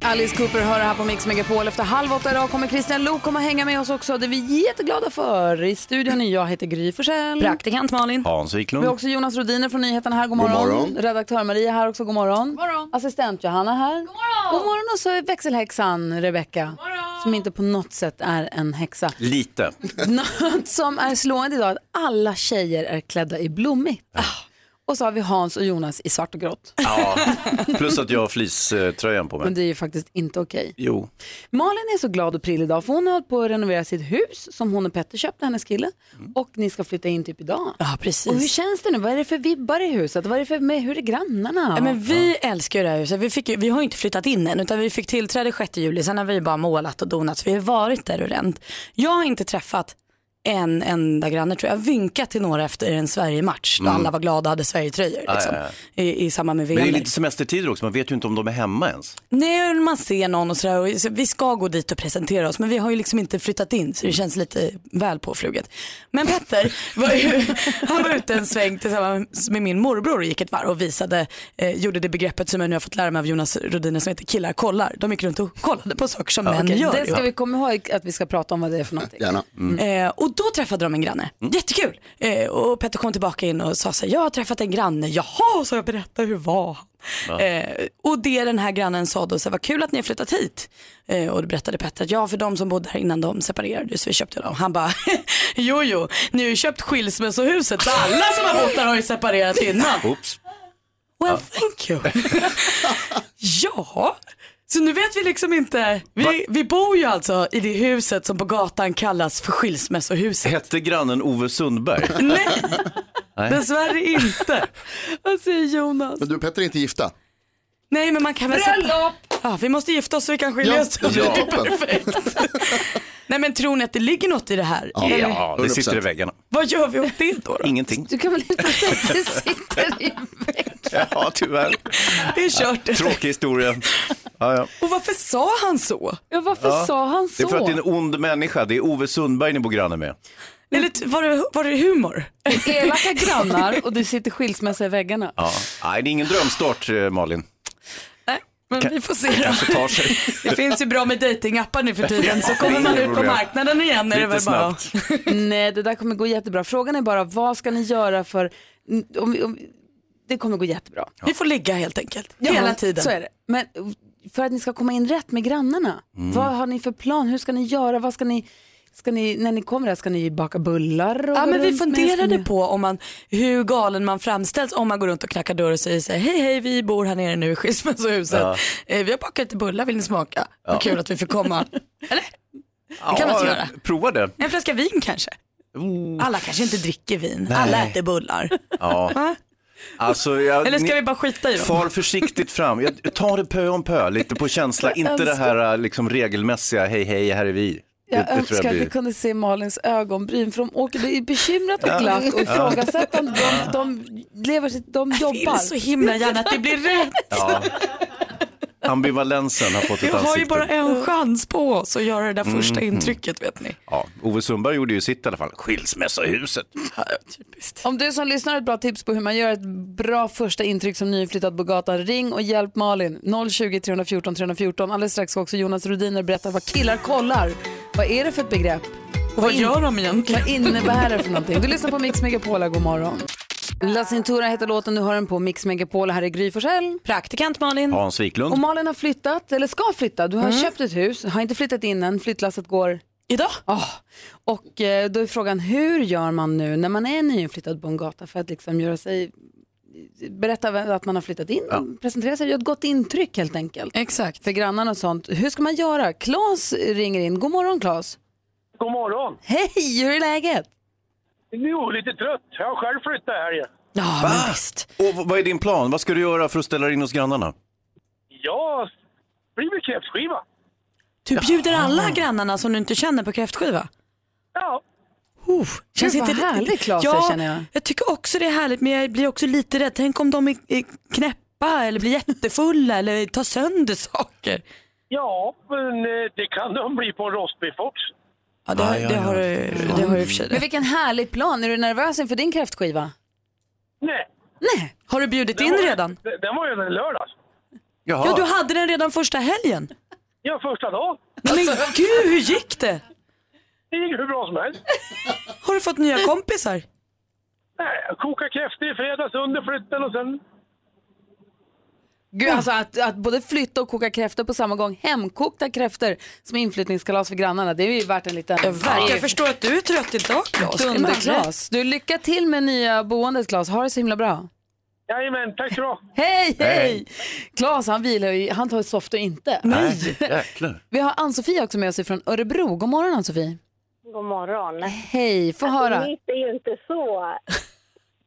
Speaker 1: Alice Cooper hör det här på Mix Megapol. Efter halv åtta idag kommer Christian Lok komma hänga med oss också. Det är vi jätteglada för. I studion är jag, heter Gry Forssell.
Speaker 2: Praktikant Malin.
Speaker 3: Hans
Speaker 1: Vi har
Speaker 3: Wiklund.
Speaker 1: också Jonas Rodiner från nyheterna här. God morgon.
Speaker 6: morgon.
Speaker 1: Redaktör Maria här också. God morgon. Assistent Johanna här. God morgon. God morgon och så är växelhäxan Rebecka. Som inte på något sätt är en häxa.
Speaker 3: Lite.
Speaker 1: Något som är slående idag är att alla tjejer är klädda i blommigt. Ah. Och så har vi Hans och Jonas i svart och grått.
Speaker 3: Ja. Plus att jag har fleecetröjan på
Speaker 1: Men
Speaker 3: mig.
Speaker 1: det är ju faktiskt inte okej.
Speaker 3: Jo.
Speaker 1: Malin är så glad och prillig idag för hon har hållit på att renovera sitt hus som hon och Petter köpte, hennes kille. Och ni ska flytta in typ idag.
Speaker 2: Ja,
Speaker 1: Och hur
Speaker 2: precis.
Speaker 1: känns det nu? Vad är det för vibbar i huset? Vad är det för, med, hur är grannarna?
Speaker 2: Ja, men vi älskar ju det här huset. Vi, fick, ju- vi har ju inte flyttat in än utan vi fick tillträde 6 juli. Sen har vi bara målat och donat. Så vi har varit där och ränt. Jag har inte träffat en enda granne tror jag. Jag vinkade till några efter en Sverige-match då
Speaker 3: Mm.
Speaker 2: alla var glada och hade Sverige-tröjor.
Speaker 3: Ja,
Speaker 2: Liksom,
Speaker 3: ja,
Speaker 2: I, I samband med VM. liksom.
Speaker 3: Men det är lite semestertider också, man vet ju inte om de är hemma ens.
Speaker 2: Nej, man ser någon och sådär. Och så- vi ska gå dit och presentera oss men vi har ju liksom inte flyttat in så det känns lite väl påfluget. Men Petter, var ju, han var ute en sväng tillsammans med min morbror och gick ett varv och visade, eh, gjorde det begreppet som jag nu har fått lära mig av Jonas Rhodiner som heter killar kollar. De gick runt och kollade på saker som män
Speaker 1: Okej,
Speaker 2: gör.
Speaker 1: det ska
Speaker 2: ju.
Speaker 1: vi komma ihåg att vi ska prata om vad det är för någonting.
Speaker 6: Gärna.
Speaker 2: Eh, och då träffade de en granne. Jättekul. Eh, och Petter kom tillbaka in och sa så här, jag har träffat en granne. Jaha, så jag berätta hur var han?
Speaker 5: Ja.
Speaker 2: Eh, och det den här grannen sa då, så här, vad kul att ni har flyttat hit. Eh, och då berättade Petter att ja, för de som bodde här innan de separerade så vi köpte dem. Han bara, jo jo, ni har ju köpt skilsmässohuset så alla som har bott där har ju separerat innan.
Speaker 3: Oops.
Speaker 2: Well, thank you. ja, så nu vet vi liksom inte. Vi, vi bor ju alltså i det huset som på gatan kallas för skilsmässohuset.
Speaker 3: Hette grannen Ove Sundberg?
Speaker 2: Nej,
Speaker 3: Nej.
Speaker 2: dessvärre inte. Vad säger Jonas?
Speaker 6: Men du Petter är inte gifta?
Speaker 2: Nej, men man kan väl... Bröllop! Ja, vi måste gifta oss så vi kan skilja
Speaker 6: Ja,
Speaker 2: oss.
Speaker 6: ja,
Speaker 2: Det är
Speaker 6: toppen.
Speaker 2: perfekt. Nej, men tror ni att det ligger något i det här? Eller,
Speaker 3: Ja, det sitter i väggarna.
Speaker 2: Vad gör vi åt det då? då?
Speaker 3: Ingenting.
Speaker 1: Du kan väl inte säga att det sitter i...
Speaker 3: Ja, tyvärr.
Speaker 2: Det är kört.
Speaker 3: Tråkig historia. Ja, ja.
Speaker 2: Och varför sa han så?
Speaker 1: Ja, varför
Speaker 3: Ja.
Speaker 1: sa han
Speaker 3: Det
Speaker 1: så?
Speaker 3: är för att det är en ond människa. Det är Ove Sundberg ni bor granne med.
Speaker 2: Eller t- var det, var det humor?
Speaker 1: Elaka grannar och det sitter skilsmässa i väggarna.
Speaker 3: Ja. Nej, det är ingen drömstart, eh, Malin.
Speaker 2: Men
Speaker 3: Ka-
Speaker 2: vi får se då.
Speaker 3: Kanske tar sig.
Speaker 2: Det finns ju bra med datingappar nu för tiden så
Speaker 3: Ja,
Speaker 2: kommer
Speaker 3: det
Speaker 2: man
Speaker 3: är
Speaker 2: ut på
Speaker 3: problem.
Speaker 2: marknaden igen är det
Speaker 3: Lite
Speaker 2: väl bara.
Speaker 3: snabbt.
Speaker 1: Nej, det där kommer gå jättebra. Frågan är bara, vad ska ni göra för... Om, om, det kommer gå jättebra.
Speaker 2: Vi får ligga helt enkelt. Hela tiden.
Speaker 1: Så är det. Men för att ni ska komma in rätt med grannarna,
Speaker 2: Mm.
Speaker 1: vad har ni för plan? Hur ska ni göra? Vad ska ni, ska ni, när ni kommer här, ska ni baka bullar? Och
Speaker 2: Ja,
Speaker 1: gå
Speaker 2: men vi
Speaker 1: runt med? Ska
Speaker 2: funderade
Speaker 1: ni-
Speaker 2: på om man, hur galen man framställs om man går runt och knackar dörr och säger så här, hej hej vi bor här nere nu i skilsmässohuset.
Speaker 3: Ja.
Speaker 2: Eh, vi har bakat lite bullar, vill ni smaka?
Speaker 3: Ja.
Speaker 2: Vad kul att vi fick komma. Det kan man inte göra.
Speaker 3: Prova det.
Speaker 2: En flaska vin kanske? Alla kanske inte dricker vin,
Speaker 3: Nej.
Speaker 2: alla äter bullar.
Speaker 3: Ja. Alltså, jag,
Speaker 2: Eller ska
Speaker 3: ni-
Speaker 2: vi bara skita i dem?
Speaker 3: Far försiktigt fram. Jag tar det pö om pö, lite på känsla.
Speaker 1: Jag
Speaker 3: Inte det
Speaker 1: älskar-
Speaker 3: här eh, liksom, regelmässiga, hej hej, här är vi. Det,
Speaker 1: Jag
Speaker 3: det tror
Speaker 1: önskar
Speaker 3: jag
Speaker 1: att vi
Speaker 3: blir.
Speaker 1: kunde se Malins ögonbryn för de åker, det är bekymrat
Speaker 3: Ja.
Speaker 1: och glatt och
Speaker 3: Ja.
Speaker 1: ifrågasättande. De, de, lever sitt, de jobbar.
Speaker 2: vill så himla gärna att det blir rätt.
Speaker 3: Ja. Ambivalensen har fått
Speaker 2: Vi
Speaker 3: ett
Speaker 2: har ju
Speaker 3: ansikte.
Speaker 2: bara
Speaker 8: Mm.
Speaker 2: en chans på oss att göra det där första
Speaker 3: Mm, mm.
Speaker 2: intrycket vet ni.
Speaker 3: Ja, Ove Sundberg gjorde ju sitt i alla fall. Skilsmässohuset.
Speaker 1: Om du som lyssnar har ett bra tips på hur man gör ett bra första intryck som nyinflyttad på gatan, ring och hjälp Malin. 020 314 314. Alldeles strax ska också Jonas Rhodiner berätta vad killar kollar. Vad är det för ett begrepp?
Speaker 2: Och vad gör de egentligen?
Speaker 1: Vad innebär det för någonting? Du lyssnar på Mix Megapola, god morgon. Lasse Intura heter låten, du hör den på Mix Megapola. Här är Gry Forssell.
Speaker 2: Praktikant Malin.
Speaker 3: Hans Wiklund.
Speaker 1: Och Malin har flyttat, eller ska flytta. Du har
Speaker 2: Mm.
Speaker 1: köpt ett hus, har inte flyttat in än. Flyttlasset går...
Speaker 2: Idag?
Speaker 1: Och eh, då är frågan, hur gör man nu när man är nyinflyttad på en gata för att liksom göra sig... Berätta vem- att man har flyttat in,
Speaker 2: Ja.
Speaker 1: presentera sig, göra ett gott intryck helt enkelt.
Speaker 2: Exakt.
Speaker 1: För grannarna och sånt. Hur ska man göra? Claes ringer in. God morgon Claes.
Speaker 7: God morgon.
Speaker 1: Hej, hur är läget?
Speaker 7: Jo, lite trött. Jag har själv flyttat här. ja.
Speaker 2: Ja, men visst.
Speaker 3: Och v- vad är din plan? Vad ska du göra för att ställa dig in hos grannarna?
Speaker 7: Jag blir väl kräftskiva.
Speaker 2: Du bjuder alla grannarna som du inte känner på kräftskiva?
Speaker 7: Ja.
Speaker 2: Oh,
Speaker 1: Gud, vad härlig Claes
Speaker 2: ja,
Speaker 1: är, känner jag.
Speaker 2: Jag tycker också det är härligt men jag blir också lite rädd. Tänk om de är är knäppa eller blir jättefulla eller tar sönder saker.
Speaker 7: Ja, men eh, det kan de bli på en rostbiff också.
Speaker 2: Ja, det, har, det, har, det har du i och för sig
Speaker 1: Men
Speaker 2: rätt.
Speaker 1: vilken härlig plan. Är du nervös inför din kräftskiva?
Speaker 7: Nej.
Speaker 1: Nej.
Speaker 2: Har du bjudit
Speaker 7: Den
Speaker 2: in
Speaker 7: var-
Speaker 2: redan?
Speaker 7: den- Den var ju den lördags.
Speaker 2: Ja, du hade den redan första helgen.
Speaker 7: Ja, första dagen.
Speaker 2: Nej,
Speaker 1: Alltså-
Speaker 2: Men gud, hur gick det?
Speaker 7: Det gick hur bra som helst.
Speaker 2: Har du fått nya kompisar?
Speaker 7: Nej, jag kokade kräftor i fredags under flytten och sen...
Speaker 1: Gud, alltså att, att både flytta och koka kräftor på samma gång, hemkokta kräftor som inflyttningskalas för grannarna, det är ju värt en liten...
Speaker 2: Verkar jag förstår att du är trött idag Claes.
Speaker 1: Dunderklas. Du, lycka till med nya boendet Klas. Ha det så himla bra.
Speaker 7: Jajamän, tack så bra.
Speaker 1: Hej, hej!
Speaker 7: Hej.
Speaker 1: Klas han vilar ju, han tar ett soft och inte.
Speaker 3: Jäklar.
Speaker 1: Vi har Ann-Sofie också med oss från Örebro. God morgon Ann-Sofie.
Speaker 8: God morgon.
Speaker 1: Hej, få höra.
Speaker 8: Mitt är ju inte så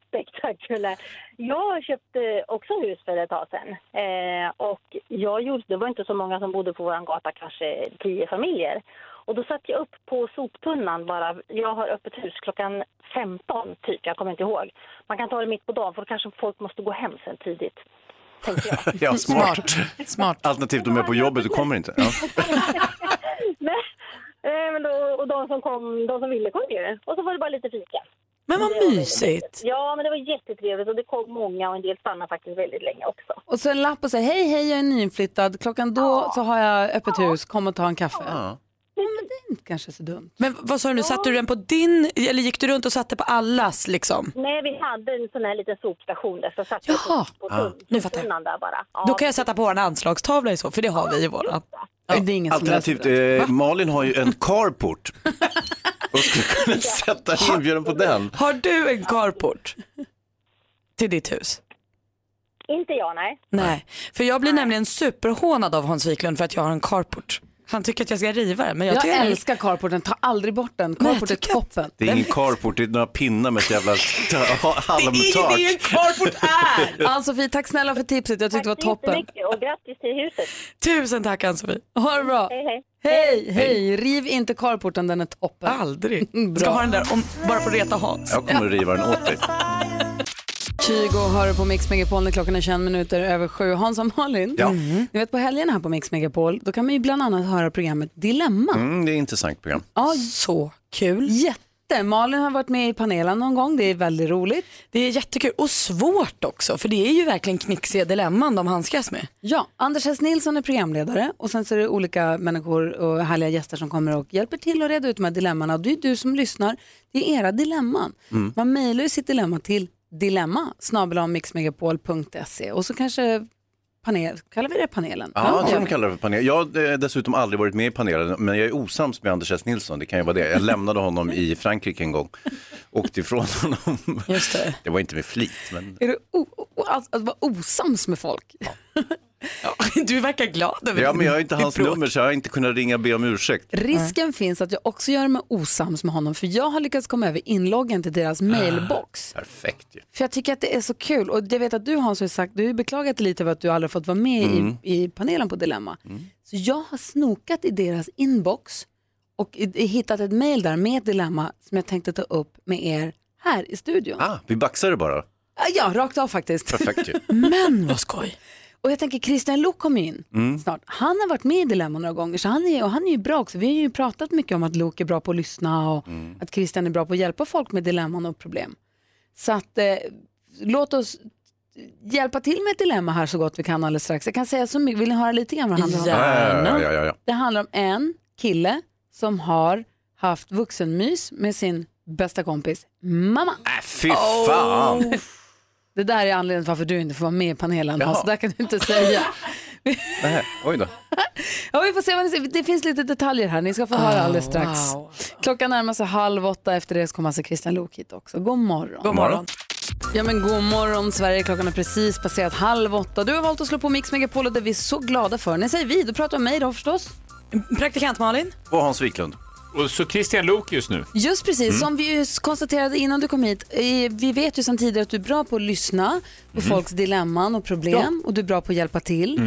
Speaker 8: spektakulär. Jag köpte också hus för ett tag sedan. Eh, och jag gjorde, det var inte så många som bodde på vår gata, kanske tio familjer. Och då satte jag upp på soptunnan bara. Jag har öppet hus klockan 15 typ, jag kommer inte ihåg. Man kan ta det mitt på dagen för då kanske folk måste gå hem sen tidigt. Tänkte jag.
Speaker 3: Ja, smart.
Speaker 1: smart.
Speaker 3: Alternativt de är på jobbet och kommer inte. Ja.
Speaker 8: Nej, eh, men då, och de som kom, de som ville kom ju. Och så var det bara lite fika.
Speaker 2: Men vad mysigt.
Speaker 8: Ja, men det var jättetrevligt och det kom många och en del stannade faktiskt väldigt länge också.
Speaker 1: Och så en lapp och säger hej, hej, jag är nyinflyttad. Klockan då så har jag öppet hus, kom och ta en kaffe. Ja. Men det är inte kanske så dumt.
Speaker 2: Men vad sa du nu, satte du den på din, eller gick du runt och satte på allas liksom?
Speaker 8: Nej, vi hade en sån här liten sopstation där så satt vi
Speaker 2: Jaha.
Speaker 8: på
Speaker 2: Ah,
Speaker 8: tunn-
Speaker 2: nu fattar jag.
Speaker 8: tunnan där bara. Ja,
Speaker 2: Då kan jag sätta på en anslagstavla i så, för det har vi i våran. Ja,
Speaker 1: det är ingen
Speaker 3: Alternativt, eh, Malin har ju en carport. Och skulle kunna sätta en inbjudan på den.
Speaker 2: Har du en carport till ditt hus?
Speaker 8: Inte jag, nej.
Speaker 2: Nej, för jag blir nämligen superhånad av Hans Wiklund för att jag har en carport. Han tycker att jag ska riva den, men jag,
Speaker 1: Jag,
Speaker 2: tycker
Speaker 1: älskar carporten, ta aldrig bort den. Carport är toppen.
Speaker 3: Det är ingen carport, det är några pinnar med ett jävla ta- halmtak.
Speaker 1: en carport är! Ann-Sofie, tack snälla för tipset. Jag tyckte det var
Speaker 8: Tack så
Speaker 1: toppen.
Speaker 8: jättemycket och grattis till huset.
Speaker 2: Tusen tack Ann-Sofie.
Speaker 1: Ha det bra.
Speaker 8: Hej, hej.
Speaker 1: Hej, hej. Riv inte carporten, den är toppen.
Speaker 3: Ah.
Speaker 2: Aldrig.
Speaker 1: Bra.
Speaker 2: Ska ha den där om, bara för att reta Hans.
Speaker 3: Jag kommer att riva den åt dig.
Speaker 1: Kygo hör du på Mix Megapol när klockan är 21 minuter över sju. Hans och Malin, Mm.
Speaker 3: Ja.
Speaker 1: ni vet på helgen här på Mix Megapol, då kan man ju bland annat höra programmet Dilemma.
Speaker 3: Mm, det är ett intressant program.
Speaker 1: Ja,
Speaker 2: så kul.
Speaker 1: Jätte. Malin har varit med i panelen någon gång, det är väldigt roligt.
Speaker 2: Det är jättekul och svårt också, för det är ju verkligen knixiga dilemman de handskas med.
Speaker 1: Ja, Anders S. Nilsson är programledare och sen så är det olika människor och härliga gäster som kommer och hjälper till att reda ut de här dilemmana. Och Det är du som lyssnar, det är era dilemman.
Speaker 5: Mm.
Speaker 1: Man mejlar ju sitt dilemma till dilemma mixmegapol.se och så kanske panel, kallar vi det panelen?
Speaker 3: Ja, jag tror de kallar det för panel. Jag har eh, dessutom aldrig varit med i panelen, men jag är osams med Anders S. Nilsson, det kan ju vara det. Jag lämnade honom i Frankrike en gång, åkte ifrån honom.
Speaker 2: Just det.
Speaker 3: det var inte med flit, men
Speaker 1: Är du o- o- alltså, att vara osams med folk?
Speaker 2: Du verkar glad över
Speaker 3: Ja,
Speaker 2: det.
Speaker 3: men jag har inte
Speaker 2: Det är
Speaker 3: hans
Speaker 2: bråk.
Speaker 3: nummer så jag har inte kunnat ringa och be om ursäkt.
Speaker 1: Risken finns att jag också gör mig osams med honom för jag har lyckats komma över inloggen till
Speaker 3: Ah.
Speaker 1: deras mailbox.
Speaker 3: Perfekt ju.
Speaker 1: För jag tycker att det är så kul och jag vet att du Hans har ju sagt, du har ju beklagat dig lite över att du aldrig fått vara med
Speaker 5: Mm.
Speaker 1: i, i panelen på Dilemma.
Speaker 3: Mm.
Speaker 1: Så jag har snokat i deras inbox och i- i- hittat ett mail där med ett dilemma som jag tänkte ta upp med er här i studion.
Speaker 3: Ah, vi baxar det bara.
Speaker 1: Ja, rakt av faktiskt.
Speaker 3: Perfekt ju.
Speaker 2: Men vad skoj.
Speaker 1: Och jag tänker Christian Lok kom ju in
Speaker 3: Mm.
Speaker 1: snart. Han har varit med i Dilemma några gånger så han är, och han är ju bra också. Vi har ju pratat mycket om att Lok är bra på att lyssna och
Speaker 3: Mm.
Speaker 1: att Christian är bra på att hjälpa folk med dilemman och problem. Så att eh, låt oss hjälpa till med ett dilemma här så gott vi kan alldeles strax. Jag kan säga så mycket, vill ni höra lite grann vad det handlar om?
Speaker 3: Ja, ja, ja, ja.
Speaker 1: Det handlar om en kille som har haft vuxenmys med sin bästa kompis mamma.
Speaker 3: Äh, fy
Speaker 2: Oh.
Speaker 3: fan.
Speaker 1: Det där är anledningen till varför du inte får vara med i panelen.
Speaker 3: Jaha.
Speaker 1: Alltså, där kan du inte säga.
Speaker 3: Nej, Äh, oj då.
Speaker 1: Ja, vi får se vad ni ser. Det finns lite detaljer här. Ni ska få höra alldeles strax. Klockan närmar sig halv åtta. Efter det så kommer alltså Christian Lok hit också. God morgon.
Speaker 5: God morgon.
Speaker 1: Ja, men god morgon Sverige. Klockan är precis passerat halv åtta. Du har valt att slå på Mix Megapol och det är vi så glada för. När säger vi, då pratar vi om mig då förstås.
Speaker 2: Praktikant Malin.
Speaker 10: Och Hans Wiklund. Och så Christian Lok just nu.
Speaker 1: Just precis,
Speaker 10: Mm.
Speaker 1: som vi ju konstaterade innan du kom hit. eh, Vi vet ju sedan tidigare att du är bra på att lyssna på
Speaker 10: Mm.
Speaker 1: folks dilemman och problem och du är bra på att hjälpa till.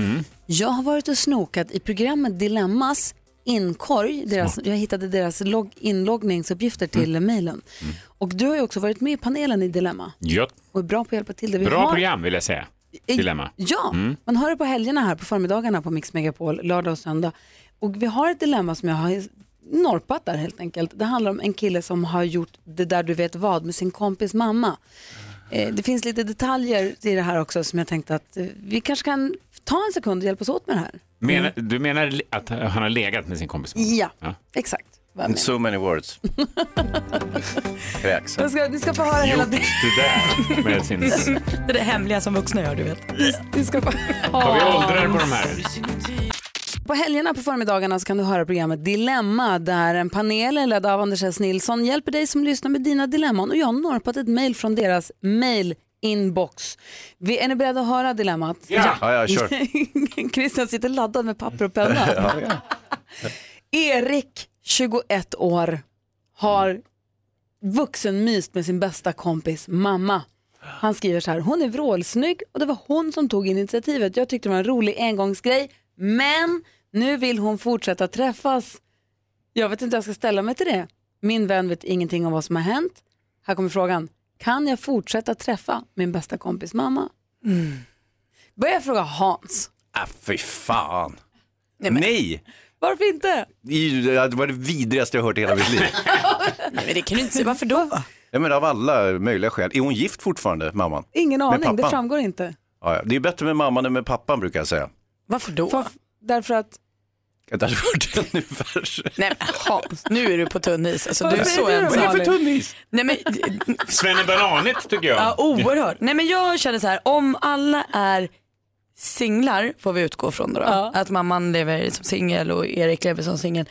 Speaker 1: Jag har varit och snokat i programmet Dilemmas inkorg. Deras, jag hittade deras log, inloggningsuppgifter till
Speaker 10: Mm.
Speaker 1: mejlen. Och du har ju också varit med i panelen i Dilemma
Speaker 10: Gött.
Speaker 1: och är bra på att hjälpa till. Det vi
Speaker 10: Bra
Speaker 1: har-
Speaker 10: program vill jag säga.
Speaker 1: Eh,
Speaker 10: Dilemma.
Speaker 1: Ja,
Speaker 10: Mm. man
Speaker 1: hör det på helgerna här på förmiddagarna på Mix Megapol, lördag och söndag. Och vi har ett dilemma som jag har norpat där helt enkelt. Det handlar om en kille som har gjort det där du vet vad med sin kompis mamma. Eh, det finns lite detaljer i det här också som jag tänkte att eh, vi kanske kan ta en sekund och hjälpas åt med det här.
Speaker 10: Menar,
Speaker 2: Mm.
Speaker 10: du menar le- att han har legat med sin kompis?
Speaker 1: Ja, exakt. vad jag menar.
Speaker 3: So many words. Kräks.
Speaker 1: Jag ska, ni ska få höra hela...
Speaker 10: Gjort det där med sin...
Speaker 8: Mm.
Speaker 2: Det är det hemliga som vuxna gör, du vet.
Speaker 1: Ni ska få...
Speaker 10: Har vi åldrar på de här?
Speaker 1: På helgerna på förmiddagarna så kan du höra programmet Dilemma där en panel ledd av Anders S. Nilsson hjälper dig som lyssnar med dina dilemman och jag har norpat ett mejl från deras mejlinbox. Vi- Är ni beredda att höra dilemmat?
Speaker 3: Ja. Ja, ja, kör.
Speaker 1: Christian sitter laddad med papper och penna.
Speaker 3: Ja, ja.
Speaker 1: Erik, 21 år, har vuxenmyst med sin bästa kompis mamma. Han skriver så här, hon är vrålsnygg och det var hon som tog initiativet. Jag tyckte det var en rolig engångsgrej, men nu vill hon fortsätta träffas. Jag vet inte hur jag ska ställa mig till det. Min vän vet ingenting om vad som har hänt. Här kommer frågan, kan jag fortsätta träffa min bästa kompis mamma? Mm. Börjar jag fråga Hans,
Speaker 3: Ah, fy fan.
Speaker 1: Nej,
Speaker 3: Nej.
Speaker 1: men- varför inte?
Speaker 3: I- Det var det vidrigaste jag hört i hela mitt liv.
Speaker 2: Nej, men det kan du inte säga. Varför då?
Speaker 3: Jag menar av alla möjliga skäl. Är hon gift fortfarande, mamman?
Speaker 1: Ingen
Speaker 3: Med
Speaker 1: aning, det
Speaker 3: pappan?
Speaker 1: framgår inte.
Speaker 3: Ja, ja. det är bättre med mamman än med pappan brukar jag säga.
Speaker 2: Varför då?
Speaker 1: därför att...
Speaker 3: Det hade varit ännu värre.
Speaker 2: Nej, men Hans, nu är du på tunn is. Alltså,
Speaker 3: Vad
Speaker 2: du är
Speaker 3: säger
Speaker 2: så
Speaker 3: du då,
Speaker 2: ensam.
Speaker 3: Malin? Vad är det för tunn is?
Speaker 2: Nej, men,
Speaker 10: Svennebananigt tycker jag.
Speaker 2: ja, oerhört. Nej, men jag känner så här, om alla är singlar, får vi utgå från då, då. att mamman lever som singel och Erik lever som singel.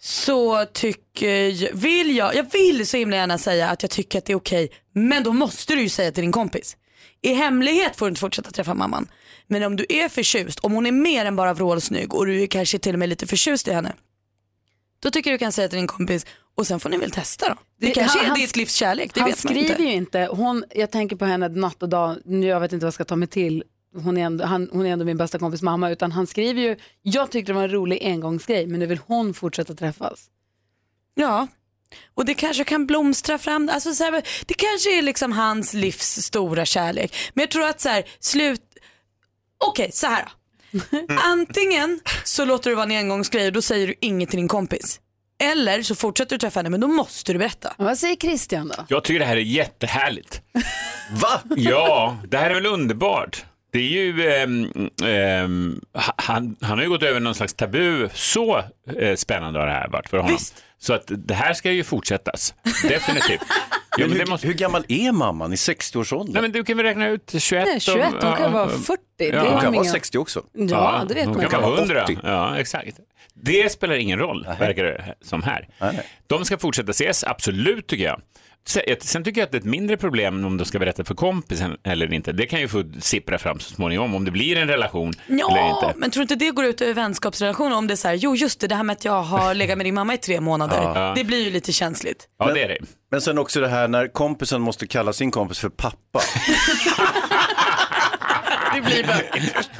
Speaker 2: Så tycker jag, vill jag, jag vill så himla gärna säga att jag tycker att det är okej, men då måste du ju säga till din kompis. I hemlighet får du inte fortsätta träffa mamman. Men om du är förtjust, om hon är mer än bara vrålsnygg och du är kanske till och med lite förtjust i henne. Då tycker jag du kan säga till din kompis och sen får ni väl testa då. Det, kanske
Speaker 1: han-
Speaker 2: är
Speaker 1: han-
Speaker 2: ditt livs kärlek, det
Speaker 1: han
Speaker 2: vet man
Speaker 1: skriver
Speaker 2: inte.
Speaker 1: ju inte. Hon, jag tänker på henne natt och dag, nu jag vet inte vad jag ska ta mig till. Hon är, ändå, han, hon är ändå min bästa kompis mamma. Utan han skriver ju, jag tyckte det var en rolig engångsgrej men nu vill hon fortsätta träffas.
Speaker 2: Ja, och det kanske kan blomstra fram. Alltså så här, det kanske är liksom hans livs stora kärlek. Men jag tror att så här, slut... Okej, så här då. Antingen så låter du vara en engångsgrej och då säger du inget till din kompis. Eller så fortsätter du träffa henne men då måste du berätta.
Speaker 1: Vad säger Christian då?
Speaker 10: Jag tycker det här är jättehärligt. Va? Ja, det här är väl underbart. Det är ju, ehm, ehm, ha- han, han har ju gått över någon slags tabu. Så eh, spännande har det här varit för honom. Så att det här ska ju fortsättas, definitivt. Jo, men det måste... Hur gammal är mamman i 60-årsåldern? Nej, men du kan väl räkna ut 21.
Speaker 1: Nej, 21, hon kan vara 40, det är
Speaker 3: Hon kan vara
Speaker 1: inga-
Speaker 3: 60 också.
Speaker 1: Ja, det vet
Speaker 10: hon
Speaker 1: man
Speaker 10: kan
Speaker 1: inte.
Speaker 10: vara 100.
Speaker 3: 80.
Speaker 10: Ja, exakt. Det spelar ingen roll, verkar det som här. De ska fortsätta ses, absolut tycker jag. Se- ett- Sen tycker jag att det är ett mindre problem om de ska berätta för kompisen eller inte. Det kan ju få sippra fram så småningom om det blir en relation eller
Speaker 2: Ja,
Speaker 10: inte.
Speaker 2: men tror du inte det går ut över vänskapsrelationer om det är så här, jo just det, det här med att jag har legat med din mamma i tre månader,
Speaker 3: Ja.
Speaker 2: det blir ju lite känsligt.
Speaker 10: Ja, det är det.
Speaker 3: Men sen också det här när kompisen måste kalla sin kompis för pappa.
Speaker 2: det blir bökigt.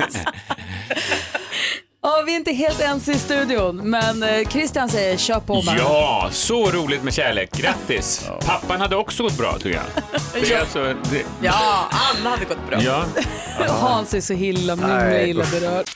Speaker 1: Ja, vi är inte helt ens i studion men eh, Christian säger kör på bara.
Speaker 10: Ja, så roligt med kärlek. Grattis! Pappan hade också gått bra tycker jag. Det är alltså, det...
Speaker 2: Ja, alla hade gått bra.
Speaker 10: Ja.
Speaker 1: Hans är så himla, himla
Speaker 10: Nej,
Speaker 1: illa
Speaker 10: usch.
Speaker 1: berörd.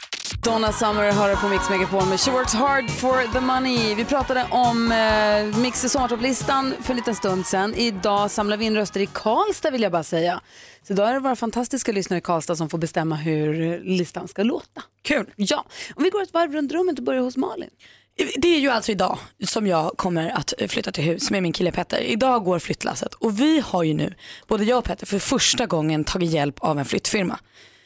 Speaker 1: Donna Summer hör på Mix Megapol med She works hard for the money. Vi pratade om eh, Mix listan för en liten stund sedan. Idag samlar vi in röster i Karlstad vill jag bara säga. Så idag är det våra fantastiska lyssnare i Karlstad som får bestämma hur listan ska låta.
Speaker 2: Kul.
Speaker 1: Ja, om vi går ett varv runt rummet och börjar hos Malin.
Speaker 2: Det är ju alltså idag som jag kommer att eh, flytta till hus med min kille Petter. Idag går flyttlasset och vi har ju nu, både jag och Petter, för första gången tagit hjälp av en flyttfirma.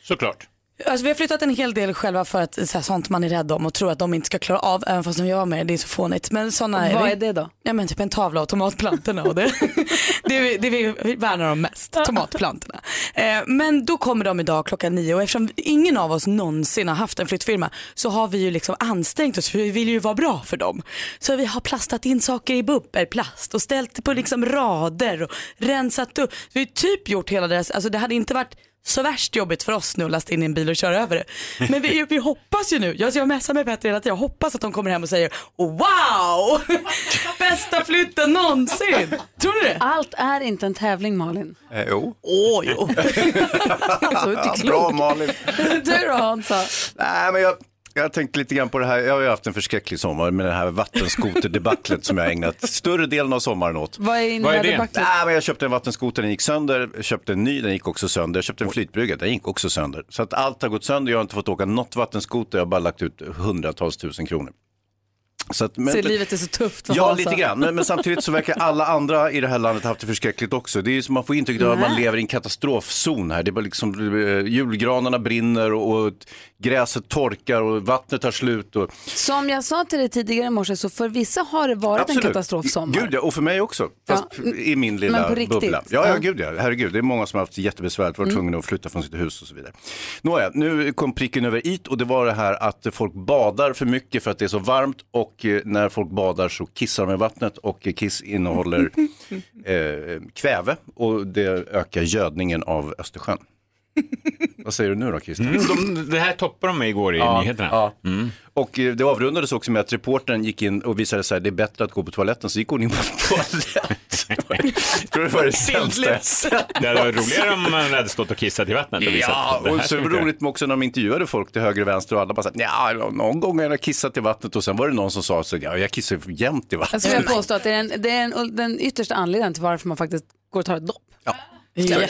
Speaker 10: Såklart.
Speaker 2: Alltså, vi har flyttat en hel del själva för att så här, sånt man är rädd om och tror att de inte ska klara av, även fast de gör med det, det är så fånigt. Men sådana är
Speaker 1: Vad
Speaker 2: vi.
Speaker 1: är det då?
Speaker 2: Ja, men typ en tavla av tomatplantorna och det, det, är vi- det vi värnar om mest, tomatplantorna. Eh, men då kommer de idag klockan nio och eftersom ingen av oss någonsin har haft en flyttfirma så har vi ju liksom ansträngt oss för vi vill ju vara bra för dem. Så vi har plastat in saker i bubbelplast och ställt på liksom rader och rensat upp. Vi har ju typ gjort hela deras, alltså det hade inte varit så värst jobbigt för oss nu att lasta in i en bil och köra över det. Men vi, vi hoppas ju nu, jag, jag messar med Petter hela tiden, jag hoppas att de kommer hem och säger wow, bästa flytten någonsin. Tror du det?
Speaker 1: Allt är inte en tävling Malin.
Speaker 3: Eh, jo.
Speaker 2: Åh, jo.
Speaker 1: Alltså, inte klokt.
Speaker 3: Bra Malin.
Speaker 1: du då Hansa?
Speaker 3: Nej, men jag, jag har tänkt lite grann på det här. Jag har ju haft en förskräcklig sommar med det här vattenskoterdebaclet som jag har ägnat större delen av sommaren åt.
Speaker 1: Vad är innebär debaclet?
Speaker 3: Nej, men jag köpte en vattenskoter, den gick sönder. Jag köpte en ny, den gick också sönder. Jag köpte en flytbrygga, den gick också sönder. Så att allt har gått sönder. Jag har inte fått åka något vattenskoter. Jag har bara lagt ut hundratals tusen kronor. Så, att, men-
Speaker 1: Så Alltså, livet är så tufft för
Speaker 3: Ja,
Speaker 1: Hansa.
Speaker 3: lite grann. Men, men samtidigt så verkar alla andra i det här landet ha haft det förskräckligt också. Det är ju som man får intrycket av att man
Speaker 1: Nej.
Speaker 3: lever i en katastrofzon här. Det är bara liksom, eh, julgranarna brinner och, och gräset torkar och vattnet tar slut. Och...
Speaker 1: Som jag sa till dig tidigare i morse så för vissa har det varit en katastrofsommar.
Speaker 3: Gud ja, och för mig också. Fast i min
Speaker 1: men
Speaker 3: lilla
Speaker 1: på riktigt.
Speaker 3: bubbla. Ja, ja,
Speaker 1: Ja.
Speaker 3: gud ja. Herregud, det är många som har haft jättebesvärligt, varit
Speaker 1: Mm.
Speaker 3: tvungna att flytta från sitt hus och så vidare. Nåja, nu kom pricken över it och det var det här att folk badar för mycket för att det är så varmt och och eh, när folk badar så kissar de i vattnet och eh, kiss innehåller eh, kväve och det ökar gödningen av Östersjön. Vad säger du nu då Christer?
Speaker 10: Mm, de, det här toppade de med igår i nyheterna.
Speaker 3: Ja. Och eh, det avrundades också med att reportern gick in och visade så här, det är bättre att gå på toaletten, så gick hon in på toaletten. tror det var det sämsta jag sett.
Speaker 10: Det hade varit roligare om man hade stått och kissat i vattnet. Och visat
Speaker 3: Ja,
Speaker 10: att det här
Speaker 3: och så
Speaker 10: funkar.
Speaker 3: roligt också när de intervjuade folk till höger och vänster och alla bara så här, "Nja, någon gång har jag kissat i vattnet och sen var det någon som sa så ja, jag kissar ju jämt i
Speaker 1: Jag
Speaker 3: vattnet.
Speaker 2: Alltså,
Speaker 1: skulle vilja påstå att det är, den, det är en, den yttersta anledningen till varför man faktiskt går och tar ett dopp.